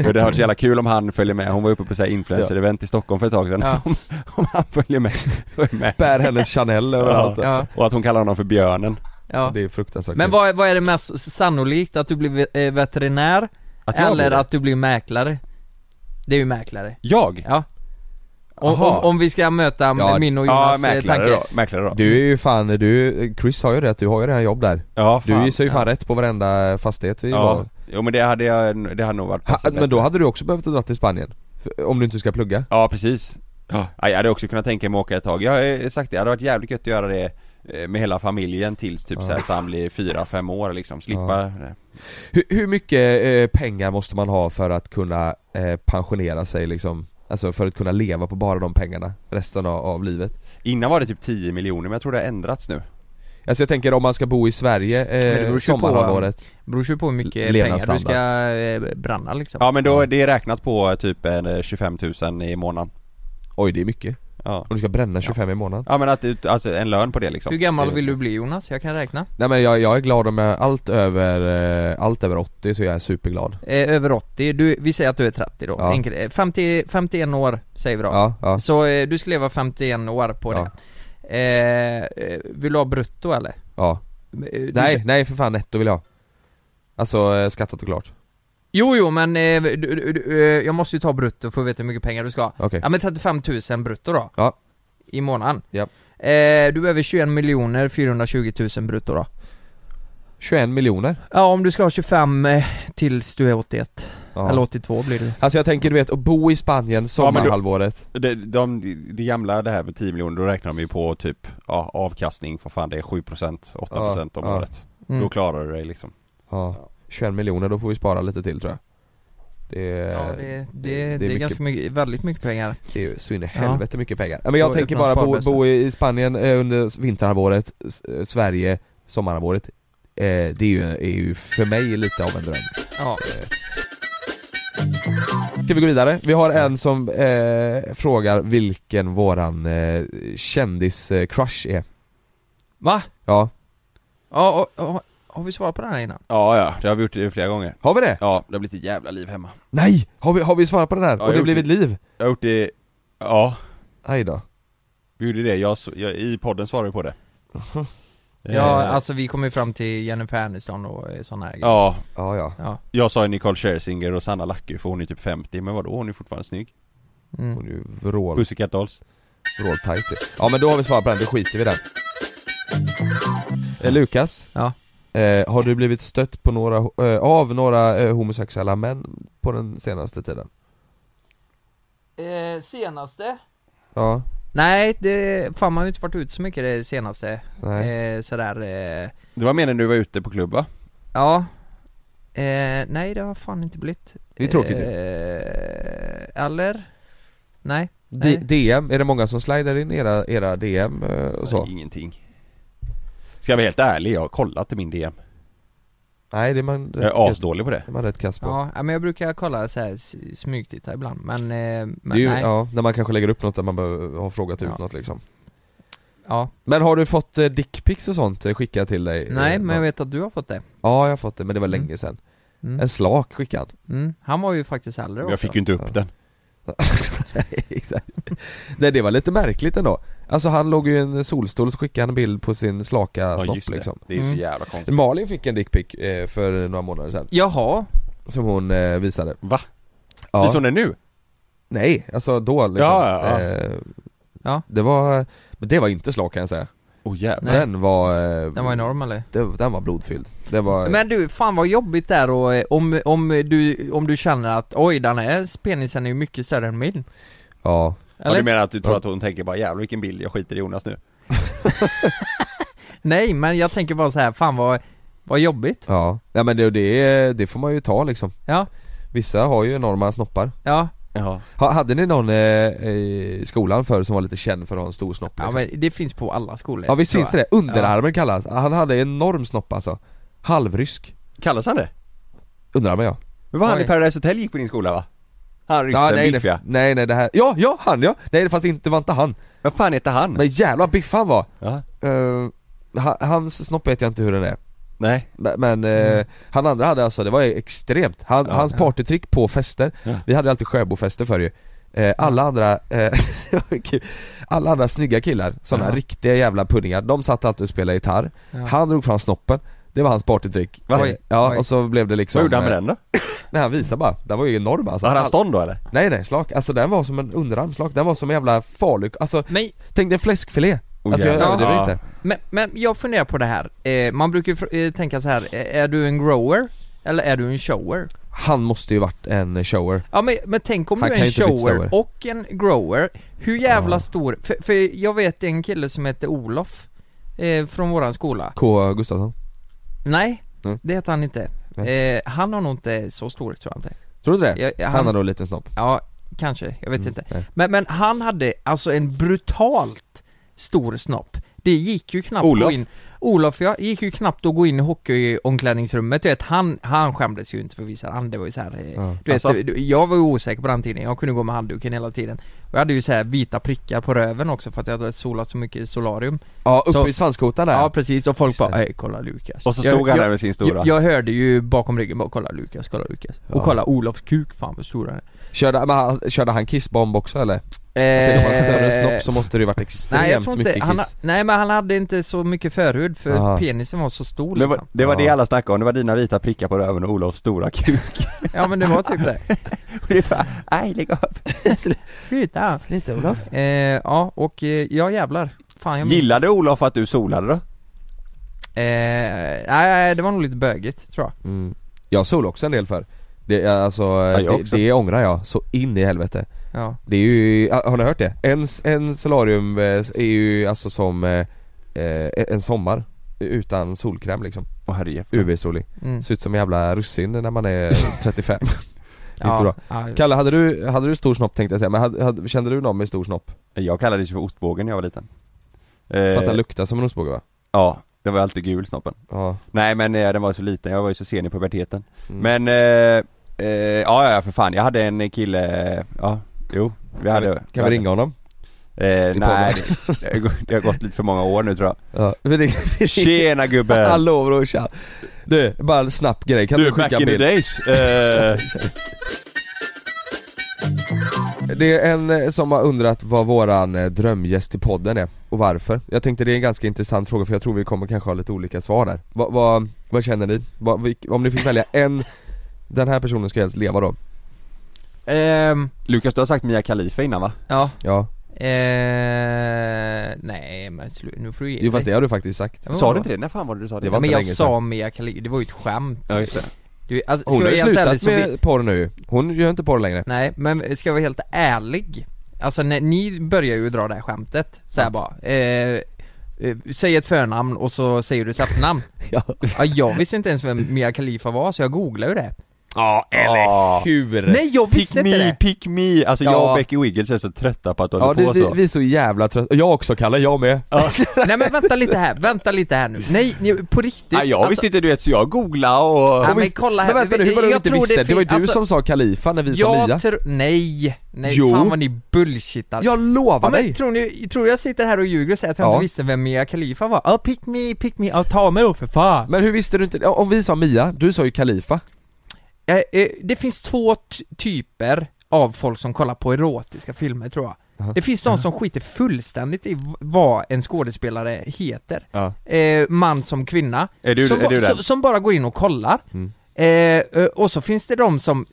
Och det har varit så jävla kul om han följer med, hon var uppe på så här influencer-event i Stockholm för ett tag sedan om, om han följer med, följer med.
Bär hennes Chanel
ja.
överallt.
Ja. Och att hon kallar honom för björnen
Ja.
Det är fruktansvärt
Men
Men
vad, vad är det mest sannolikt? Att du blir ve- eh, veterinär?
Att jag
eller
blir det?
att du blir mäklare? Det är ju mäklare
Jag?
Ja Om,
Aha.
om, om vi ska möta min och Jonas eh, tanke
mäklare då
Du är ju fan, du, Chris har ju det att du har ju redan jobb där
Ja,
Du
fan.
gissar ju fan
Ja.
rätt på varenda fastighet vi
Ja,
var
jo men det hade jag, det hade nog varit
ha, Men då hade du också behövt dra till Spanien, för, om du inte ska plugga
Ja precis ja. Jag hade också kunnat tänka mig att åka ett tag, jag har ju sagt det, det hade varit jävligt gött att göra det eh, med hela familjen tills typ
Ja.
så här, så han blir fyra, fem år liksom, slippa det.
Hur, hur mycket eh, pengar måste man ha för att kunna eh, pensionera sig liksom? Alltså för att kunna leva på bara de pengarna resten av, av livet?
Innan var det typ 10 miljoner men jag tror det har ändrats nu
Alltså jag tänker om man ska bo i Sverige
Men det
eh,
beror ju på-
sommarhalvåret
beror ju på hur mycket pengar du ska eh, bränna liksom
Ja men då, det är räknat på typ en 25 000 i månaden
Oj det är mycket
Ja
Och du ska bränna 25 i månaden
Ja men att, ut- alltså en lön på det liksom
Hur gammal
Det-
vill du bli Jonas? Jag kan räkna
Nej men jag, jag är glad om jag, allt över, eh, allt över 80 så jag är superglad
eh, Över 80, du, vi säger att du är 30 då,
Ja.
Enkel- eh, 50, 51 år säger vi då
Ja, ja.
Så eh, du ska leva 51 år på
Ja.
det eh, eh, Vill du ha brutto eller? Eh,
Ja
du-
Nej, nej för fan netto vill jag Alltså eh, skattat och klart
Jo, jo, men eh, du, du, du, eh, jag måste ju ta brutto för att veta hur mycket pengar du ska ha.
Okej.
Ja men 35 000 brutto då.
Ja.
I månaden.
Ja.
Eh, du behöver 21 miljoner 420 000 brutto då.
21 miljoner
Ja, om du ska ha 25 eh, tills du är 81.
Ja.
Eller 82 blir det.
Alltså jag tänker du vet, att bo i Spanien
Ja, men då-
sommarhalvåret
det, de, det gamla det här med 10 miljoner, då räknar de ju på typ ja, avkastning, vad fan det är 7%, 8% om
Ja, ja.
året
Mm.
Då klarar du dig liksom
ja. 21 miljoner, då får vi spara lite till tror jag Det är,
Ja, det, det, det, är
mycket-
ganska mycket, väldigt mycket pengar.
Det är ju så in i
Ja.
helvete mycket pengar. Ja, Men jag
Då
tänker
öppnar
bara bo,
sparbössan.
bo i i Spanien eh, under vinterhalvåret, S- eh, Sverige, sommarhalvåret. Eh, det är ju, är ju för mig lite av en dröm.
Ja.
Eh. Ska vi gå vidare? Vi har en som eh, frågar vilken våran eh, kändis-crush är.
Va?
Ja.
Ja, och, och, har vi svarat på den här innan?
Ja ja, det har vi gjort eh, flera gånger
Har vi det?
Ja, det har blivit ett jävla liv hemma
Nej! Har vi, har vi svarat på den här?
Ja,
Och
jag
det
gjorde
blev ett liv?
Jag har gjort det, ja
Aj då.
Vi gjorde det, jag, så- jag, i podden svarade vi på det
Ja,
Eh,
alltså vi kom ju fram till Jennifer Aniston och eh, såna här grejer.
ja.
ja, ja
Ja.
Jag sa ju Nicole Scherzinger och Sanna Lacke för hon är typ 50 men vadå, hon är fortfarande snygg
Mm.
Hon är ju vrål...
Pussycat Dolls
Vråltajt ju. Ja men då har vi svarat på den, då skiter vi i den. Eh, Lukas?
Ja.
Eh, har du blivit stött på några, ho- eh, av några eh, homosexuella män på den senaste tiden?
Eh, senaste?
Ja.
Nej, det, fan man har ju inte varit ut så mycket det senaste.
Nej.
Eh, sådär, eh,
Det var mer när du var ute på klubb va?
ja. Eh, nej det har fan inte blivit.
Det är tråkigt ju.
eh, Eller? Nej.
D-
nej.
DM, är det många som slider in era, era DM eh, och så?
Nej, ingenting Ska jag vara helt ärlig, jag har kollat i min DM
Nej det är man
Jag är asdålig på det.
är man rätt kass på.
Ja, ja, men jag brukar kolla såhär s- smygtitta ibland men, eh, men
det är ju,
nej.
ja, när man kanske lägger upp något där man behöver ha frågat
Ja.
ut något liksom.
Ja.
Men har du fått eh, dickpics och sånt eh, skickat till dig?
nej
Eh,
men jag vet att du har fått det.
Ja jag har fått det, men det var länge sedan.
Mm.
En slak skickad.
Mm. Han var ju faktiskt äldre också.
Jag fick ju inte upp den
Nej, exakt. Nej det var lite märkligt ändå Alltså han låg ju i en solstol så skickade han en bild på sin slaka
Ja
snopp
just det,
liksom
det är så
Mm.
jävla konstigt
Malin fick en dickpic eh, för några månader sedan
Jaha.
Som hon eh, visade
Va?
Ja.
Visar hon det nu?
Nej, alltså då liksom
Ja, ja, ja.
Eh,
Ja.
Det var, men det var inte slak kan jag säga
Åh oh, jävlar
Nej.
Den var... eh,
Den var enorm eller?
det- Den var blodfylld Den var...
Men du, fan vad jobbigt där och eh, om, om du, om du känner att oj den här penisen är ju mycket större än min.
Ja
Ja, du
Eller?
menar att du tror att hon tänker bara jävlar vilken bild, jag skiter i Jonas nu
Nej men jag tänker bara så här, fan vad, vad jobbigt.
Ja, ja men det, det, det får man ju ta liksom
Ja.
Vissa har ju enorma snoppar
Ja,
Ja
ha, Hade ni någon eh, i skolan förr som var lite känd för att ha en stor snopp?
ja
liksom?
men det finns på alla skolor.
Ja visst
tror
finns det
jag.
det? Underarmen kallas Han hade enorm snopp alltså Halvrysk
Kallas han det?
Underarmen ja
Men vad han
Oj.
i Paradise Hotel gick på din skola va? Han ryssen,
ja, nej,
biffiga.
det, nej nej det här, ja ja han ja! Nej det fanns inte, det var inte han
Vad fan heter han?
Men jävla biff han var! Eh, ha- hans snopp vet jag inte hur den är
Nej
Men, men, eh, han andra hade alltså, det var ju extremt, han,
Mm. Ja.
hans
Ja.
partytrick på fester,
Ja.
vi hade ju alltid Sjöbofester förr ju Eh, alla andra, eh, det var ju kul. alla andra snygga killar, sådana
Ja.
riktiga jävla punningar, de satt alltid och spelade gitarr
Ja.
Han drog fram snoppen, det var hans partytrick
Va?
Eh,
Oj.
Ja
Oj.
och så blev det liksom
Vad gjorde han med den då?
Nej han visade bara, den var ju enorm alltså
Hade han stånd då eller?
Nej nej, slak, alltså den var som en underarmsslak, den var som en jävla farlig, alltså Tänk dig en fläskfilé,
Oh,
alltså jag
jävlar.
överdriver
Ja.
inte
Men, men jag funderar på det här, eh, man brukar ju fr- eh, tänka så här, eh, är du en grower? Eller är du en shower?
Han måste ju varit en shower
Ja men, men tänk om
Han
du är
kan
en
ju inte bli
shower
större.
och en grower, hur jävla stor, för, för jag vet en kille som heter Olof eh, Från våran skola
K Gustafsson
Nej,
Mm.
det heter han inte eh, Han har nog inte så stor tror jag inte
Tror du det?
Jag- jag-
han...
han-
har nog en liten snopp
Ja, kanske, jag vet
Mm,
inte
nej.
men, men han hade alltså en brutalt stor snopp Det gick ju knappt att
Olof?
gå in Olof ja, gick ju knappt att gå in i hockeyomklädningsrummet, du vet han, han skämdes ju inte för att visa han, det var ju så här, eh,
Ja.
du vet,
Alltså?
du- jag var ju osäker på den tiden, jag kunde gå med handduken hela tiden Och jag hade ju så här vita prickar på röven också för att jag hade solat så mycket i solarium
Ja, uppe
Så-
i svanskotan där
Ja precis, och folk bara 'Ey, kolla Lukas'
Och så stod
Jag-
han
jag-
där med sin stora.
jag, jag hörde ju bakom ryggen bara 'Kolla Lukas, kolla Lukas'
Ja.
Och kolla Olofs kuk, fan vad stor den är
Körde, men han, körde han kissbomb också eller? Jag tänker om han större snopp så måste det ju varit extremt
Eh, Nej jag tror inte,
mycket
han,
kiss
nej men han hade inte så mycket förhud för
Aha.
penisen var så stor
Det
liksom.
var, det, var det alla snackade om, det var dina vita prickar på röven och Olofs stora kuk
Ja men det var typ det
Och det var, nej lägg av
Sluta Sluta Olof eh, Ja och eh, ja jävlar Fan jag minns-
Gillade Olof att du solade då?
eh, nej, Nej det var nog lite bögigt tror jag
mm. Jag sol också en del för det, alltså,
jag
det,
också.
det ångrar jag så in i helvete
Ja.
Det är ju, har ni hört det? En, en solarium eh, är ju alltså som eh, eh, en sommar utan solkräm liksom
Åh herrejävlar
UV-solig,
Mm.
ser ut som en jävla russin när man är 35 Det är
Ja,
inte bra.
ja.
Kalle, hade du, hade du stor snopp tänkte jag säga, men hade, hade, kände du någon med stor snopp?
Jag kallades ju för ostbågen när jag var liten
För att
Eh,
den luktar som en ostbåge va?
Ja, den var alltid gul snoppen
Ja.
Nej men eh, den var ju så liten, jag var ju så sen i puberteten
Mm.
Men, eh, eh, ja ja för fan, jag hade en kille, eh, ja, jo vi hade,
vi- kan vi ringa honom?
Eh, nej,
Till
det, det har gått- det har gått lite för många år nu tror jag
Ja, vi ringer, vi ringer.
Tjena, gubben.
Hallå brorsan! Du, bara en snabb grej, kan du,
Du,
skicka
back
en
in the
bild?
days eh,
Det är en eh, som har undrat vad våran eh, drömgäst i podden är och varför. Jag tänkte det är en ganska intressant fråga för jag tror vi kommer kanske ha lite olika svar där. Vad, vad, vad känner ni? Vad, vilk- om ni fick välja en, den här personen ska helst leva då?
Ehm,
Lukas du har sagt Mia Khalifa innan va?
Ja
Ja.
Eh, nej men slu, nu får du ge
Jo fast
dig.
det har du faktiskt sagt.
Ja, men
Sa
vadå?
du inte det? När fan var det du sa det?
Det var
Men
inte
jag
länge
sa
sedan.
Mia Khalifa, det var ju ett skämt
Ja, just det.
Du, alltså, ska
Hon har
jag
ju
vara helt ärlig
slutat
så
med
vi,
porr nu Hon gör inte porr längre.
Nej, men ska jag vara helt ärlig Alltså när, ni börjar ju dra det här skämtet så här bara eh, eh, Säg ett förnamn och så säger du ett efternamn
ja.
Jag visste inte ens vem Mia Khalifa var så jag googlade ju det
Ja,
eller
hur?
Nej, jag visste
pick
inte
me,
det.
Pick me, alltså jag
Ja.
och Becky Wiggles är så trötta på att du
Ja,
håller
det, vi,
på så
vi är så jävla trötta, jag också Kalle, jag med.
Nej men vänta lite här, vänta lite här nu Nej, ni, på riktigt alltså,
Nej, jag visste inte du vet så jag googlade och...
Ja, men kolla här.
Men vänta nu, hur var det du
Jag
inte
tror
visste?
det
Det, var ju
fin-
du
alltså-
som sa Kalifa när vi sa Mia.
Jag tror, nej, nej
Jo.
fan vad ni bullshittar
Jag lovar
ja, men
dig.
Tror ni, tror jag sitter här och ljuger och säger att jag
Ja.
inte visste vem Mia Khalifa var? Ja, pick me, pick me, ja ta mig då för fan
Men hur visste du inte, ja, om vi sa Mia, du sa ju Kalifa
Eh, eh, Det finns två ty- typer av folk som kollar på erotiska filmer tror jag
Aha.
Det finns de som skiter fullständigt i v- vad en skådespelare heter
Ja.
eh, Man som kvinna
Är du-
som,
är du den?
som, som bara går in och kollar
Mm.
Eh, eh, och så finns det de som,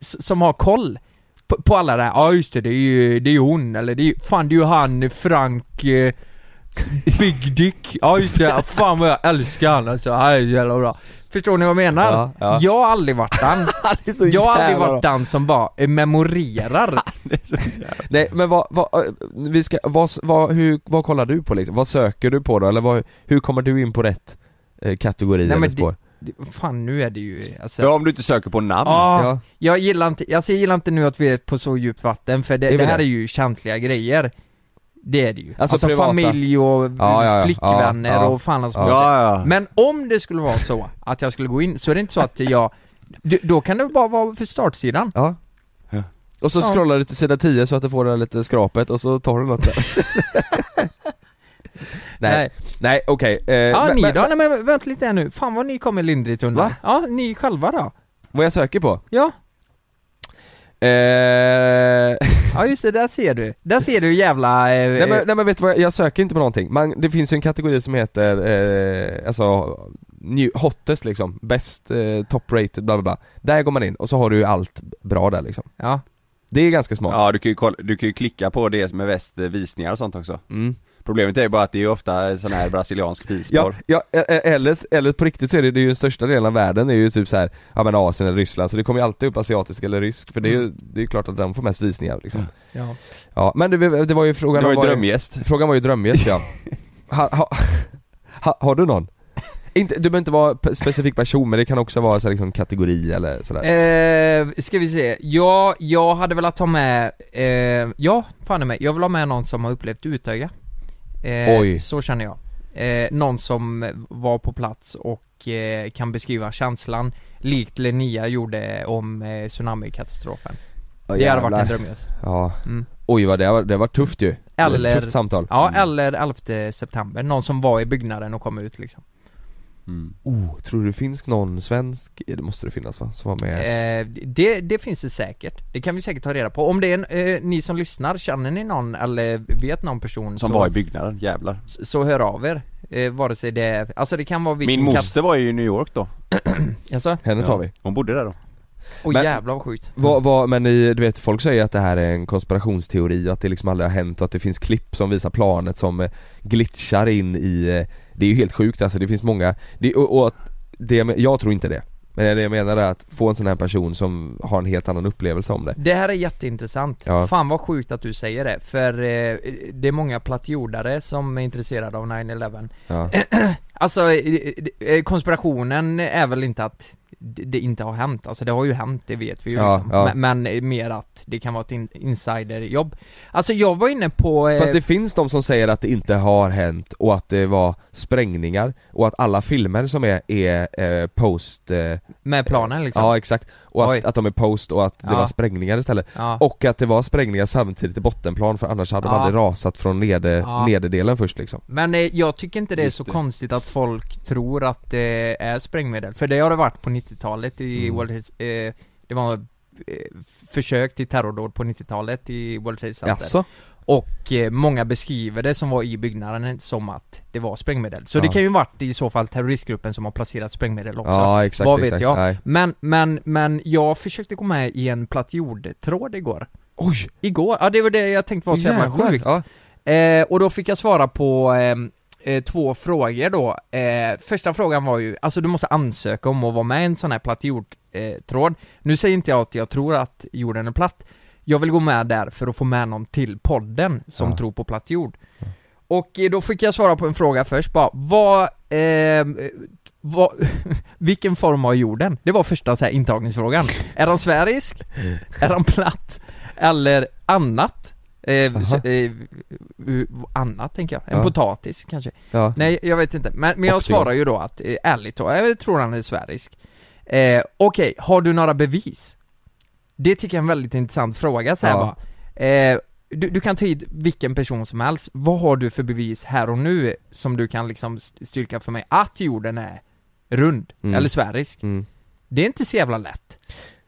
s- som har koll på, på alla det här, ja just det, det är ju det är ju hon, eller det är, ju- fan det är ju han Frank eh, Big Dick, ja just det, ja, fan vad jag älskar han alltså, ja, det är jävla bra Förstår ni vad jag menar?
Ja, ja. Alltså,
Jag har aldrig varit den,
så
jag har aldrig
jävla
varit den som bara eh, memorerar
Nej men vad, vad, eh, vi ska, vad, vad, hur, vad kollar du på liksom? Vad söker du på då? Eller vad, hur kommer du in på rätt eh, kategori
Nej
eller
men
spår?
det, det, fan nu är det ju alltså,
Ja om du inte söker på namn
Ja, jag gillar inte, alltså jag gillar inte nu att vi är på så djupt vatten för det,
Är vi
det här
det?
är ju känsliga grejer Det är det ju.
Alltså
Alltså,
privata.
familj och
ja, ja.
flickvänner
Ja, ja.
och fan hans
Ja.
moster.
Ja, ja.
Men om det skulle vara så att jag skulle gå in, så är det inte så att jag, d- då kan det bara vara för startsidan
Ja. Och så
Ja.
scrollar du till sida 10 så att du får det här lite skrapet och så tar du något där. Nej, nej okej. Eh,
Ja
men-
ni
men-
då? Nej men vänta lite här nu, fan vad ni kommer lindrigt undan.
Va?
Ja, ni själva då?
Vad jag söker på?
Ja.
Eh...
Ja just det, där ser du. Där ser du jävla... Eh,
nej, men,
eh,
nej men vet du vad, jag söker inte på någonting. Man, det finns ju en kategori som heter, eh, alltså, new, hottest liksom, bäst, eh, top rated, bla bla bla. Där går man in och så har du ju allt bra där liksom.
Ja.
Det är ganska smart.
Ja du kan ju, kolla, du kan ju klicka på det som är väst eh, visningar och sånt också
Mm.
Problemet är ju bara att det är ju ofta sån här brasiliansk
Ja,
fisporr
ja e- e- eller, eller på riktigt så är det, det är ju den största delen av världen är ju typ så här, ja men Asien eller Ryssland, så det kommer ju alltid upp asiatisk eller rysk, för det är ju, det är ju klart att de får mest visningar liksom.
Ja.
Ja, men det, det var ju frågan
Det var ju
om
drömgäst.
Frågan var ju drömgäst ja. ha, ha, ha, har du någon? Inte, du behöver inte vara pe- specifik person men det kan också vara så här, liksom kategori eller sådär.
Eh, ska vi se, ja, jag hade velat ha med, eh, ja, fan i mig, jag vill ha med någon som har upplevt Utöja. Eh,
Oj.
Så känner jag. Eh, någon som var på plats och eh, kan beskriva känslan, likt Linnea gjorde om eh, tsunamikatastrofen.
Ja,
det hade
jävlar.
varit en drömgäst.
Ja.
Mm.
Oj vad det var, det var tufft ju. Det var
Eller,
ett tufft samtal.
Ja,
Mm.
eller 11 september, någon som var i byggnaden och kom ut liksom.
Oh, tror du finns någon svensk, det måste det finnas va, som var med?
Eh, det, det finns det säkert. Det kan vi säkert ta reda på. Om det är en, eh, ni som lyssnar, känner ni någon eller vet någon person
Som
så,
var i byggnaden, jävlar
så, så hör av er. Eh, vare sig det är, alltså det kan vara vilken
Min moster var ju i New York då
Alltså?
Henne tar vi.
Hon bodde där då
Åh
Men-
jävlar vad sjukt.
Vad, vad, men ni, du vet folk säger att det här är en konspirationsteori och att det liksom aldrig har hänt och att det finns klipp som visar planet som eh, glitchar in i eh, Det är ju helt sjukt alltså, det finns många det, och, och att det, jag men- jag tror inte det Men det jag menar är att få en sån här person som har en helt annan upplevelse om det
Det här är jätteintressant.
Ja.
Fan vad sjukt att du säger det. För eh, det är många plattjordare som är intresserade av 9-11.
Ja.
Alltså eh, eh, konspirationen är väl inte att det det inte har hänt, alltså det har ju hänt, det vet vi ju
Ja,
liksom.
ja.
Men, men mer att det kan vara ett in- insiderjobb. Alltså jag var inne på... eh,
Fast det finns de som säger att det inte har hänt och att det var sprängningar och att alla filmer som är, är eh, post... Eh,
Med planen, liksom?
Ja exakt, och
Oj.
att, att de är post och att det
Ja.
var sprängningar istället.
Ja.
Och att det var sprängningar samtidigt i bottenplan för annars hade
Ja.
de aldrig rasat från neder,
Ja.
nederdelen först liksom.
Men eh, jag tycker inte det är
Just
så
det.
konstigt att folk tror att det är sprängmedel, för det har det varit på 90-talet i
Mm.
World Trade, eh, Det var eh, försök till terrordåd på 90-talet i World Trade Center
Jaså?
Och eh, många beskriver det som var i byggnaden som att det var sprängmedel. Så
Ja.
det kan ju varit i så fall terroristgruppen som har placerat sprängmedel också.
Ja, exakt,
Vad vet
exakt.
jag?
Nej.
Men, men, men jag försökte gå med i en platt jordtråd igår.
Oj!
Igår, ja det var det jag tänkte var så jävla
Jävlar,
sjukt. Eh, och då fick jag svara på ehm, eh, två frågor då. Eh, första frågan var ju, alltså du måste ansöka om att vara med i en sån här platt jordtråd. Eh, tråd. nu säger inte jag att jag tror att jorden är platt. Jag vill gå med där för att få med någon till podden som
Ja.
tror på platt jord. Och eh, då fick jag svara på en fråga först bara, vad, ehm, eh, vad, vilken form har jorden? Det var första så här intagningsfrågan. Är den sfärisk? Är den platt? Eller annat? Eh, s- eh, u- annat tänker jag, en
Ja.
potatis kanske?
Ja.
Nej jag vet inte, men, men jag
Option.
svarar ju då att, eh, ärligt då, jag tror han är sfärisk eh, Okej, har du några bevis? Det tycker jag är en väldigt intressant fråga så här
Ja.
bara eh, du, du kan ta hit vilken person som helst, vad har du för bevis här och nu som du kan liksom st- styrka för mig att jorden är rund,
Mm.
eller sfärisk?
Mm.
Det är inte så jävla lätt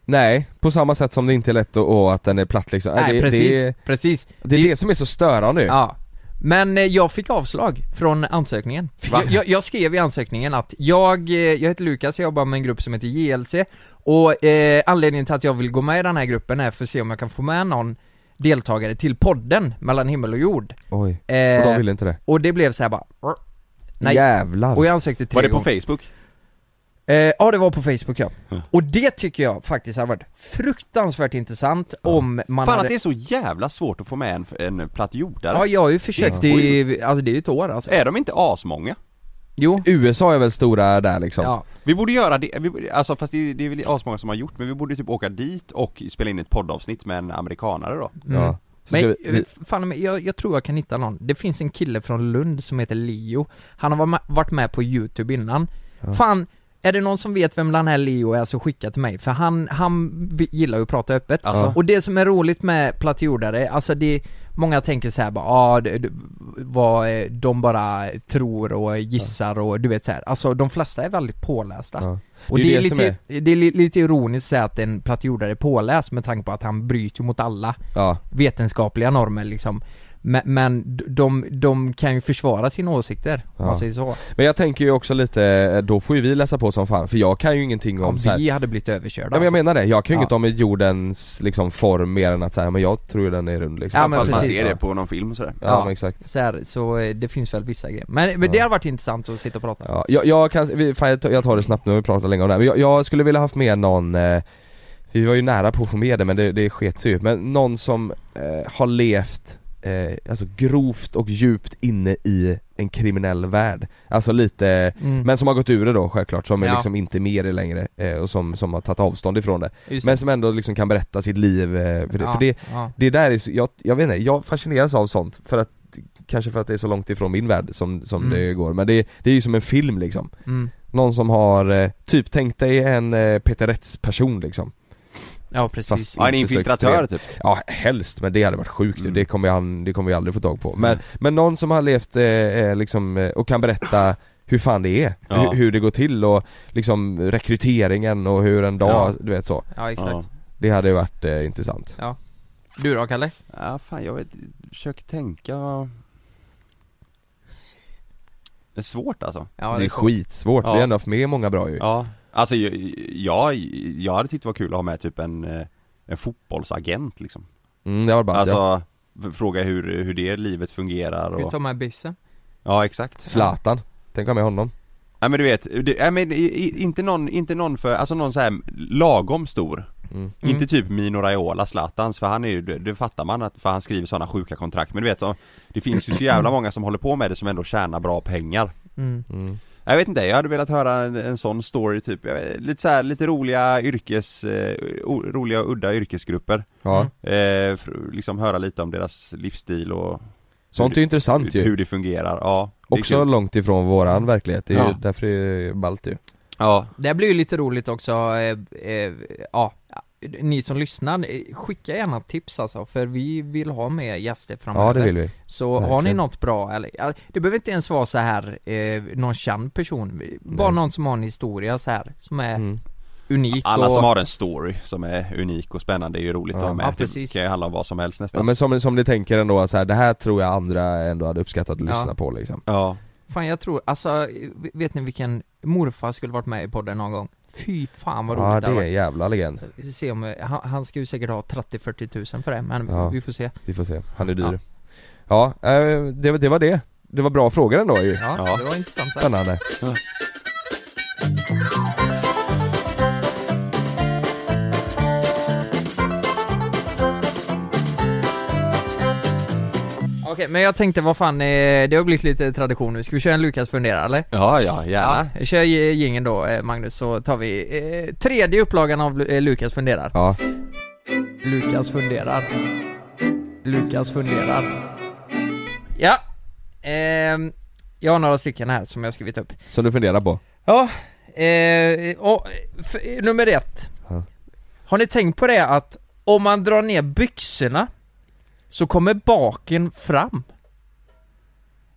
Nej, på samma sätt som det inte är lätt att, och att den är platt liksom.
Nej,
det,
precis,
det, är-
precis
det är det som är så störande ju.
Ja. Men eh, jag fick avslag från ansökningen. Jag, jag, jag skrev i ansökningen att jag, eh, jag heter Lukas, jag jobbar med en grupp som heter JLC och eh, anledningen till att jag vill gå med i den här gruppen är för att se om jag kan få med någon deltagare till podden mellan himmel och jord.
Oj,
Eh,
och de ville inte det.
Och det blev så här bara
Jävlar.
Och jag ansökte tre
Var det på
gånger.
Facebook?
Eh, ja det var på Facebook ja. Och det tycker jag faktiskt har varit fruktansvärt intressant om man
Fan
hade...
att det är så jävla svårt att få med en, en platt jordare
Ja jag har ju försökt
Det är
i, alltså det är ju ett år alltså.
Är de inte asmånga?
Jo.
USA är väl stora där liksom.
Vi borde göra det, vi borde, alltså fast det, är- det är väl asmånga som har gjort men vi borde typ åka dit och spela in ett poddavsnitt med en amerikanare då
Mm.
Så
Men,
ska vi-
eh, fan, men jag, jag tror jag kan hitta någon. Det finns en kille från Lund som heter Leo. Han har varit med- varit med på YouTube innan. Fan, är det någon som vet vem den här Leo är så skicka till mig, för han, han vi- gillar ju att prata öppet.
Alltså.
Och det som är roligt med plattjordare, alltså det Många tänker så här bara, ah, det- det- vad eh, de bara tror och gissar och du vet så här. alltså de flesta är väldigt pålästa. Och
Det
det,
är ju
är
det som
lite, det är li- lite ironiskt så här att en plattjordare är påläst med tanke på att han bryter ju mot alla vetenskapliga normer liksom. Men, men d- de, de kan ju försvara sina åsikter, om man
Ja.
säger så.
Men jag tänker ju också lite, eh, då får ju vi läsa på som fan för jag kan ju ingenting om
Om
så här,
vi hade blivit överkörda
Ja, men jag
alltså.
menar det, jag kan ju inget
Ja.
om jordens liksom form mer än att säga men jag tror ju den är rund liksom
Ja, men
Fast man
precis.
ser det.
på någon film och sådär
Ja, men exakt
Så, här, så eh, det finns väl vissa grejer. Men, men det har varit intressant att sitta och prata
Ja, jag, jag kan, vi, fan jag tar- jag tar det snabbt nu, vi pratat länge om det här. Men jag, jag skulle vilja haft med någon, eh, vi var ju nära på att få med det men det, det sket sig ju. Men någon som eh, har levt eh, alltså grovt och djupt inne i en kriminell värld. Alltså lite,
Mm.
men som har gått ur det då självklart, som är
Ja.
liksom inte med det längre eh, och som, som har tagit avstånd ifrån det.
Just det.
Men som ändå liksom kan berätta sitt liv, eh, för det,
Ja,
för det,
ja.
det där är så, jag, jag vet inte, jag fascineras av sånt för att Kanske för att det är så långt ifrån min värld som, som
Mm.
det går, men det, det är ju som en film liksom
Mm.
Någon som har, eh, typ tänk dig en eh, Peter Rätts-person liksom
Ja, precis.
Fast
Ja, en
inte så
infiltratör,
extrem.
typ.
Ja helst, men det hade varit sjukt ju. det, kommer jag, det kommer vi aldrig få tag på Men, men någon som har levt eh, eh, liksom, eh, och kan berätta hur fan det är,
Ja.
hur, hur det går till och liksom rekryteringen och hur en dag,
Ja.
du vet så
Ja, exakt. Ja.
Det hade ju varit eh, intressant
Ja. Du då Kalle?
Ja fan jag vet, försöker tänka Det är svårt alltså
det, är skitsvårt, vi har ändå haft med många bra ju
Ja, alltså jag, jag, jag hade tyckt det var kul att ha med typ en, eh, en fotbollsagent liksom
Mm, det var bara
Alltså,
ja.
f- fråga hur, hur det livet fungerar
Ska vi
och
ta med bissen?
Ja exakt
Zlatan, tänk ha med honom
Nej men du vet, det, nej, men i- i- inte någon, inte någon för, alltså någon så här lagom stor Inte typ Mino Raiola, Zlatans, för han är ju, det, det fattar man att, för han skriver sådana sjuka kontrakt Men du vet, det finns ju så jävla många som håller på med det som ändå tjänar bra pengar
Mm.
Jag vet inte, jag hade velat höra en, en sån story typ, jag vet, lite så här, lite roliga yrkes, eh, o, roliga och udda yrkesgrupper
Ja.
eh, för, Liksom höra lite om deras livsstil och
Sånt är ju intressant
hur,
ju.
hur det fungerar, ja det är
Också
kul.
långt ifrån våran verklighet, det är ju
Ja.
därför det är ballt ju
Ja
Det blir ju lite roligt också, eh, eh, ja ni som lyssnar, eh, skicka gärna tips alltså, för vi vill ha med gäster framöver.
Ja, det vill vi.
Så har ni
Verkligen.
något bra, eller, ja, det behöver inte ens vara så här eh, någon känd person, bara någon som har en historia så här som är
Mm.
unik
Alla
och...
som har en story som är unik och spännande är ju roligt att
Ja.
ha med
Ja, precis.
Det kan ju handla om vad som helst nästan
Ja men som, som ni tänker ändå så här, det här tror jag andra ändå hade uppskattat att
Ja.
lyssna på liksom
Ja
Fan jag tror, alltså vet ni vilken morfar skulle varit med i podden någon gång? Fy fan vad roligt
Ja
det
det
hade
är
varit.
en jävla legend
Vi får se om, eh, han, han ska ju säkert ha 30-40 tusen för det, men
Ja.
vi får se
Vi får se, han är dyr Ja, eh, det, var- det var det Det var bra frågor ändå ju
Ja, det var intressant
Spännande
Okej, men jag tänkte vad fan, eh, det har blivit lite tradition nu, ska vi köra en Lukas fundera eller?
Ja, ja, gärna.
ja, Kör gingen då eh, Magnus, så tar vi eh, tredje upplagan av eh, Lukas funderar
Ja
Lukas funderar Lukas funderar Ja, ehm, jag har några stycken här som jag skrivit upp
Som du funderar på?
Ja, eh, och, f- nummer ett.
Ja.
Har ni tänkt på det att om man drar ner byxorna så kommer baken fram?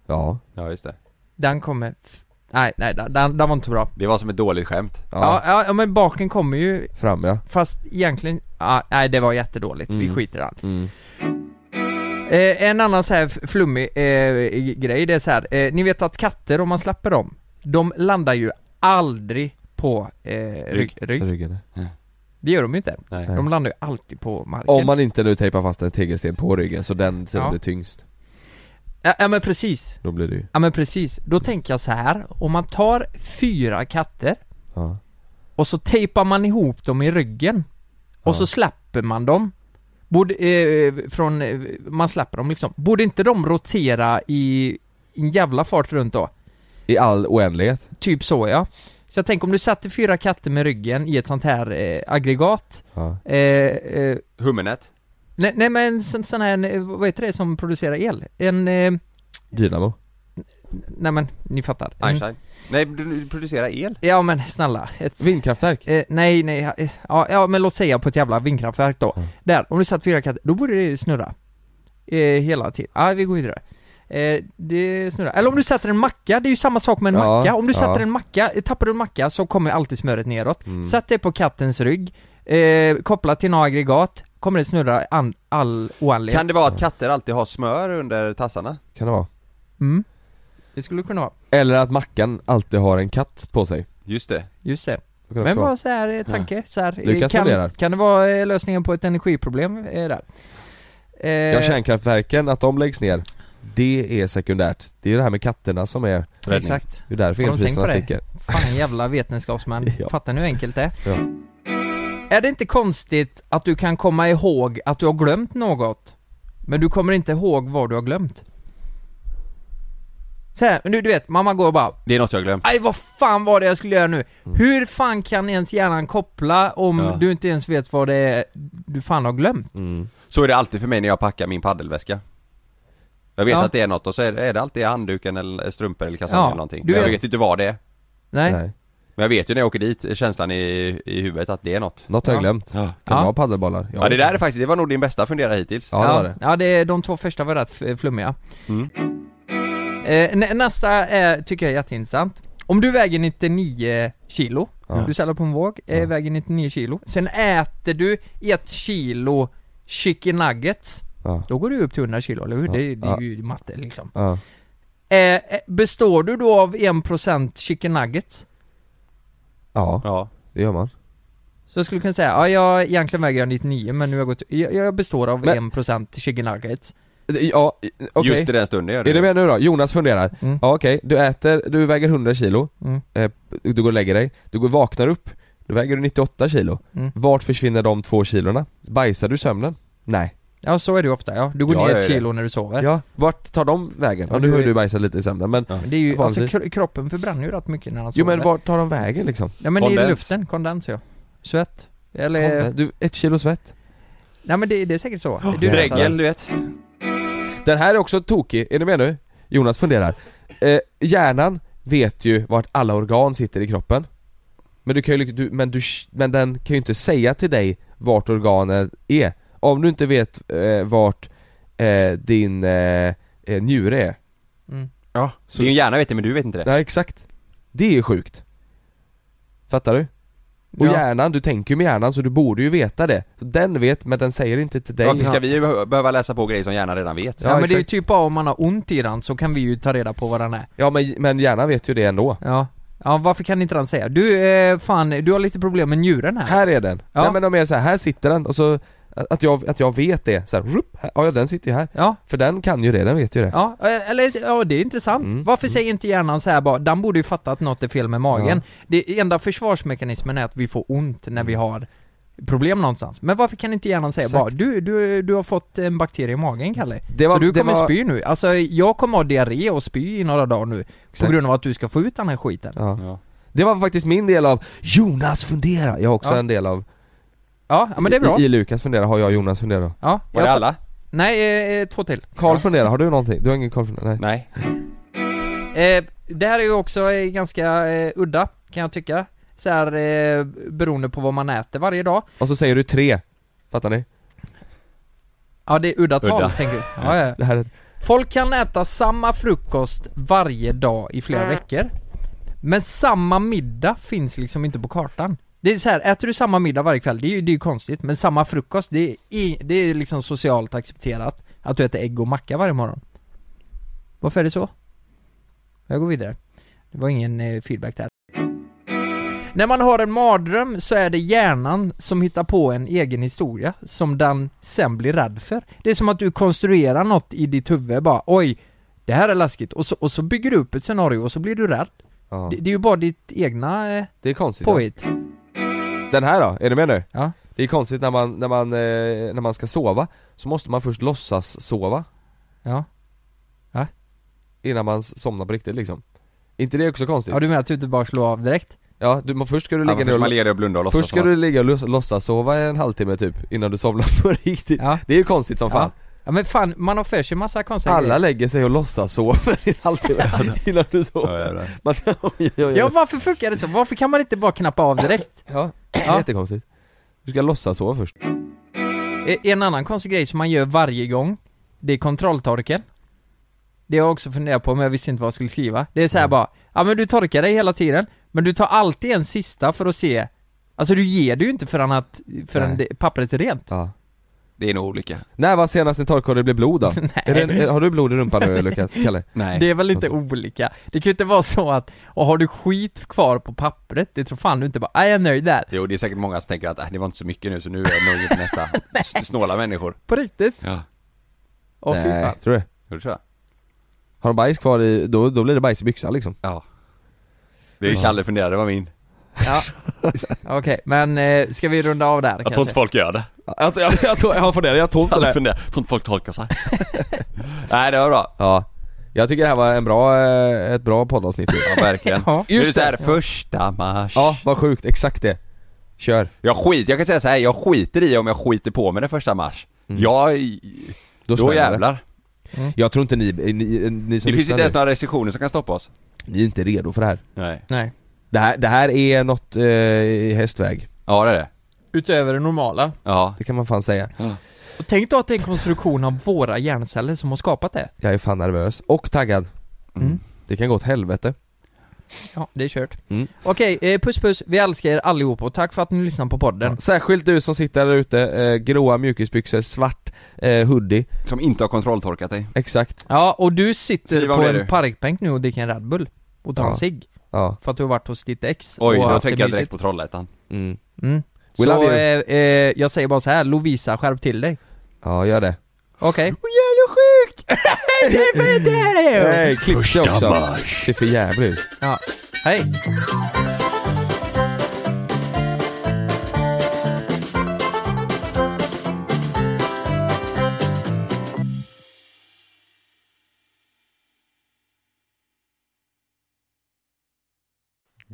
Ja
Ja just det
Den kommer... F- nej, nej, den, den den var inte bra.
Det var som ett dåligt skämt
Ja. Ja, men baken kommer ju...
Fram ja
Fast egentligen... Ja, nej, det var jättedåligt. Vi
Mm.
skiter i den.
Mm.
Eh, en annan så här f- flummig eh, grej, det är så här. Eh, ni vet att katter, om man släpper dem, de landar ju aldrig på eh, rygg. rygg.
Ryggen
Det gör de ju inte.
Nej.
De landar ju alltid på marken.
Om man inte nu tejpar fast en tegelsten på ryggen så den som
Ja.
blir tyngst,
ja, ja men precis.
då blir det ju
Ja men precis. Då tänker jag så här. om man tar fyra katter
Ja.
och så tejpar man ihop dem i ryggen och så släpper man dem. Borde, eh, från, eh, man släpper dem liksom. Borde inte de rotera i en jävla fart runt då?
I all oändlighet
Typ så ja. Så jag tänker om du sätter fyra katter med ryggen i ett sånt här eh, aggregat.
Ja.
Eh, eh,
Hummernät
nej, nej men en sån, sån här, eh, vad heter det som producerar el? En... Eh,
Dynamo
nej men ni fattar. Mm.
Einstein? Nej, du du producerar el?
Ja men snälla, ett... Vindkraftverk? Eh, nej, nej, eh, ja, ja men låt säga på ett jävla vindkraftverk då.
Mm.
Där, om du satt fyra katter, då borde det snurra. Eh, hela tiden. Ja, ah, vi går vidare. Eh, det snurrar. Eller om du sätter en macka, det är ju samma sak med en
Ja,
macka. Om du
ja.
sätter en macka, eh, tappar du en macka så kommer alltid smöret neråt.
Mm.
Sätt det på kattens rygg, eh, kopplat till några aggregat, kommer det snurra an, all oändlighet.
Kan det vara att katter alltid har smör under tassarna?
Kan det vara?
Mm. Det skulle kunna vara.
Eller att Mackan alltid har en katt på sig
Just det
Just det.
det
Men
också
bara
vara.
så här eh, tanke, så här,
Lukas
eh, kan,
funderar.
kan det vara eh, lösningen på ett energiproblem eh, där? Eh,
Ja kärnkraftverken, att de läggs ner Det är sekundärt Det är det här med katterna som är
Exakt.
Det är därför
Har de tänkt
elpriserna
på det?
sticker
Fan jävla vetenskapsmän,
Ja.
fattar ni hur enkelt det är?
ja.
Är det inte konstigt att du kan komma ihåg att du har glömt något? Men du kommer inte ihåg vad du har glömt? Så här, nu du vet, mamma går och bara
Det är något jag har glömt
Aj vad fan var det jag skulle göra nu?
Mm.
Hur fan kan ens hjärnan koppla om
Ja.
du inte ens vet vad det är du fan har glömt?
Mm.
Så är det alltid för mig när jag packar min paddelväska Jag vet
Ja.
att det är något och så är det, är det alltid handduken eller strumpor eller kalsonger
Ja,
eller
du
någonting Men Jag
vet.
vet inte vad det är
Nej.
Men jag vet ju när jag åker dit, känslan i, i huvudet att det är något
Något har jag glömt
Ja,
Kan det vara paddelbollar?
ja det där är faktiskt, det var nog din bästa fundera hittills
Ja, det var det. Mm.
Ja, det, de två första var rätt f- flummiga. Eh, nä- nästa är, tycker jag är jätteintressant. Om du väger 99 kilo,
Ja.
du säljer på en våg, eh, väger 99 kilo. Sen äter du ett kilo chicken nuggets.
Ja.
Då går du upp till 100 kilo, eller hur?
Ja.
Det, det är
Ja.
ju matte liksom.
Ja.
Eh, eh, består du då av 1% chicken nuggets?
Ja. det gör man
Så jag skulle kunna säga, ja jag egentligen väger jag 99 men nu har jag gått, jag, jag består av 1% chicken nuggets.
Ja, okej.
Just i den stunden gör
Är du med nu då? Jonas funderar.
Mm.
Ja okej, du äter, du väger 100 kilo,
Mm.
eh, du går och lägger dig, du går och vaknar upp, då väger du 98 kilo.
Mm.
Vart försvinner de två kilorna? Bajsar du i sömnen? Nej.
Ja så är det ju ofta ja, du går
Ja,
ner
jag
ett
gör det.
kilo när du sover.
Ja, Eh? vart tar de vägen? Ja, nu har du bajsat lite i sömnen men...
Men Det är ju, alltså
vanligtvis-
kro- kroppen förbränner ju rätt mycket när han
Jo
sover.
men vart tar de vägen liksom?
Ja men det är luften, kondens ja. Svett. Eller...
Kondens. Eh, Du, ett kilo svett.
Nej men det, det är säkert så.
Oh,
Du vet
dregel,
att-
du vet. Den här är också tokig, är ni med nu? Jonas funderar. Eh, hjärnan vet ju vart alla organ sitter i kroppen. Men du kan ju, lik- du, men, du, men den kan ju inte säga till dig vart organen är. Om du inte vet eh, vart eh, din eh, eh, njure är.
Mm.
Ja, din hjärna vet det men du vet inte det
Nej exakt. Det är ju sjukt. Fattar du? Och
Ja.
hjärnan, du tänker ju med hjärnan så du borde ju veta det. Så den vet men den säger inte till dig.
Varför ska vi behö- behöva läsa på grejer som hjärnan redan vet?
Ja, men det är ju typ bara om man har ont i den så kan vi ju ta reda på vad den är.
Ja men, men hjärnan vet ju det ändå.
Ja. Ja varför kan inte den säga? Du, eh, fan, du har lite problem med njuren här.
Här är den.
Ja.
Nej men de är så här, här sitter den och så att jag, att jag vet det, så här, rup, här, ja den sitter ju här.
Ja.
För den kan ju det, den vet ju det.
Ja, eh, eller ja, det är intressant.
Mm.
Varför säger inte hjärnan så här bara, den borde ju fatta att något är fel med magen. Det enda försvarsmekanismen är att vi får ont när vi har problem någonstans. Men varför kan inte hjärnan säga
Mm. Exakt.
bara, du, du, du har fått en bakterie i magen Kalle,
Det var-
så du
det
kommer
var-
spy nu. Alltså jag kommer ha diarré och spy i några dagar nu, på grund av att du ska få ut den här skiten.
Ja. Det var faktiskt min del av Jonas fundera. Jag har också
Ja.
en del av
Ja, ja, men det är bra.
I, I Lukas fundera har jag och Jonas fundera.
Ja,
Var
jag
det
fa-
alla?
Nej, eh, eh, två till.
Karl fundera, har du någonting? Du har ingen Karl fundera?
Nej.
Eh, det här är ju också eh, ganska eh, udda, kan jag tycka. Så här, eh, beroende på vad man äter varje dag.
Och så säger du tre. Fattar ni?
Ja, det är udda tal,
Udda.
tänker du. Ja, ja.
Det här är...
Folk kan äta samma frukost varje dag i flera veckor. Men samma middag finns liksom inte på kartan. Det är så här, äter du samma middag varje kväll, det är ju, det är ju konstigt. Men samma frukost, det är, i, det är liksom socialt accepterat att du äter ägg och macka varje morgon. Varför är det så? Jag går vidare. Det var ingen eh, feedback där. När man har en mardröm så är det hjärnan som hittar på en egen historia som den sen blir rädd för. Det är som att du konstruerar något i ditt huvud bara oj, det här är läskigt och så, och så bygger du upp ett scenario och så blir du rädd.
Ja.
Det, det är ju bara ditt egna eh,
Det är konstigt.
påhitt.
Den här då, är du med nu?
Ja.
Det är konstigt när man, när man, eh, när man ska sova, så måste man först låtsas sova
Ja. Ja.
Innan man s- somnar på riktigt liksom. inte det också konstigt?
Ja du menar att du inte bara slår av direkt?
Ja, du, men först ska du
Ja,
ligga
men
ner
först man ligger och blundar och låtsas
Först ska
som
du
att-
ligga och låts- låtsas sova en halvtimme typ, innan du somnar på riktigt Det är ju konstigt som fan
Ja. Ja men fan, man har för sig massa konstiga
Alla
grejer.
lägger sig och låtsas sover i en halvtimme innan du sover. Man- Oj, oj, oj.
Ja varför funkar det så? Varför kan man inte bara knappa av direkt?
Ja, det är jättekonstigt. Du ska låtsas sova först.
E- En annan konstig grej som man gör varje gång Det är kontrolltorken Det har jag också funderat på men jag visste inte vad jag skulle skriva Det är
Mm.
så här bara Ja men du torkar dig hela tiden Men du tar alltid en sista för att se Alltså du ger du ju inte förrän att Förrän
Nej.
det, pappret är rent
Ja.
Det är nog olika.
När var senast ni torkade och det blev blod då? är det, eh, har du blod i rumpan nu Lukas? Kalle?
Nej.
Det är väl inte olika? Det kan ju inte vara så att Och har du skit kvar på pappret Det tror fan du inte bara "Ah, Jag är nöjd där
Jo det är säkert många som tänker att äh, det var inte så mycket nu så nu är jag nöjd med nästa. S- Snåla människor.
På riktigt?
Ja.
Åh fy fan
tror du det?
Hur tror jag?
Har de bajs kvar i, då, då blir det bajs i byxan liksom.
Ja. Det är ju Kalle funderade, det var min.
Ja, okej, men eh, ska vi runda av där
Jag tror inte folk gör det.
Jag, jag, jag, tror- jag har funderat, jag tror inte
Kalle
det.
funderar, tror inte folk tolkar sig. Nej det var bra.
Ja. Jag tycker det här var en bra, eh, ett bra poddavsnitt ju.
Ja verkligen.
Ja.
Nu är det
Just
så här,
det.
första mars.
Ja, vad sjukt, exakt det. Kör.
Jag skit, jag kan säga så här, jag skiter i om jag skiter på mig den första mars. Jag, då,
smäller det.
jävlar.
Jag tror inte ni, eh, ni, ni som
Det finns
lyssnar
inte ens
nu,
några restriktioner som kan stoppa oss.
ni är inte redo för det här.
Nej.
Nej
Det här, det här är något eh, i hästväg.
Ja det är det.
Utöver det normala
Ja.
Det kan man fan säga.
Och tänk då att det är en konstruktion av våra hjärnceller som har skapat det.
Jag är fan nervös och taggad.
Mm.
Det kan gå åt helvete.
Ja, det är kört.
Mm.
Okej, eh, puss puss. Vi älskar er allihopa och tack för att ni lyssnar på podden.
Särskilt du som sitter där ute, eh, gråa mjukisbyxor, svart eh, hoodie.
Som inte har kontrolltorkat dig.
Exakt.
Ja, och du sitter
Skriv om
på
det,
en
du.
parkbänk nu och dricker en Red Bull och tar
Ja.
en cigg.
Ja.
För att du har varit hos ditt ex
Oj,
och
då
haft det
tänker jag direkt
mysigt.
på Trollhättan.
Mm.
Mm.
We
Så,
love you.
eh, eh, jag säger bara så här, Lovisa, skärp till dig.
Ja, gör det.
Okej.
Nej, klipp det också. Ser för jävligt ut.
Ja. Hej.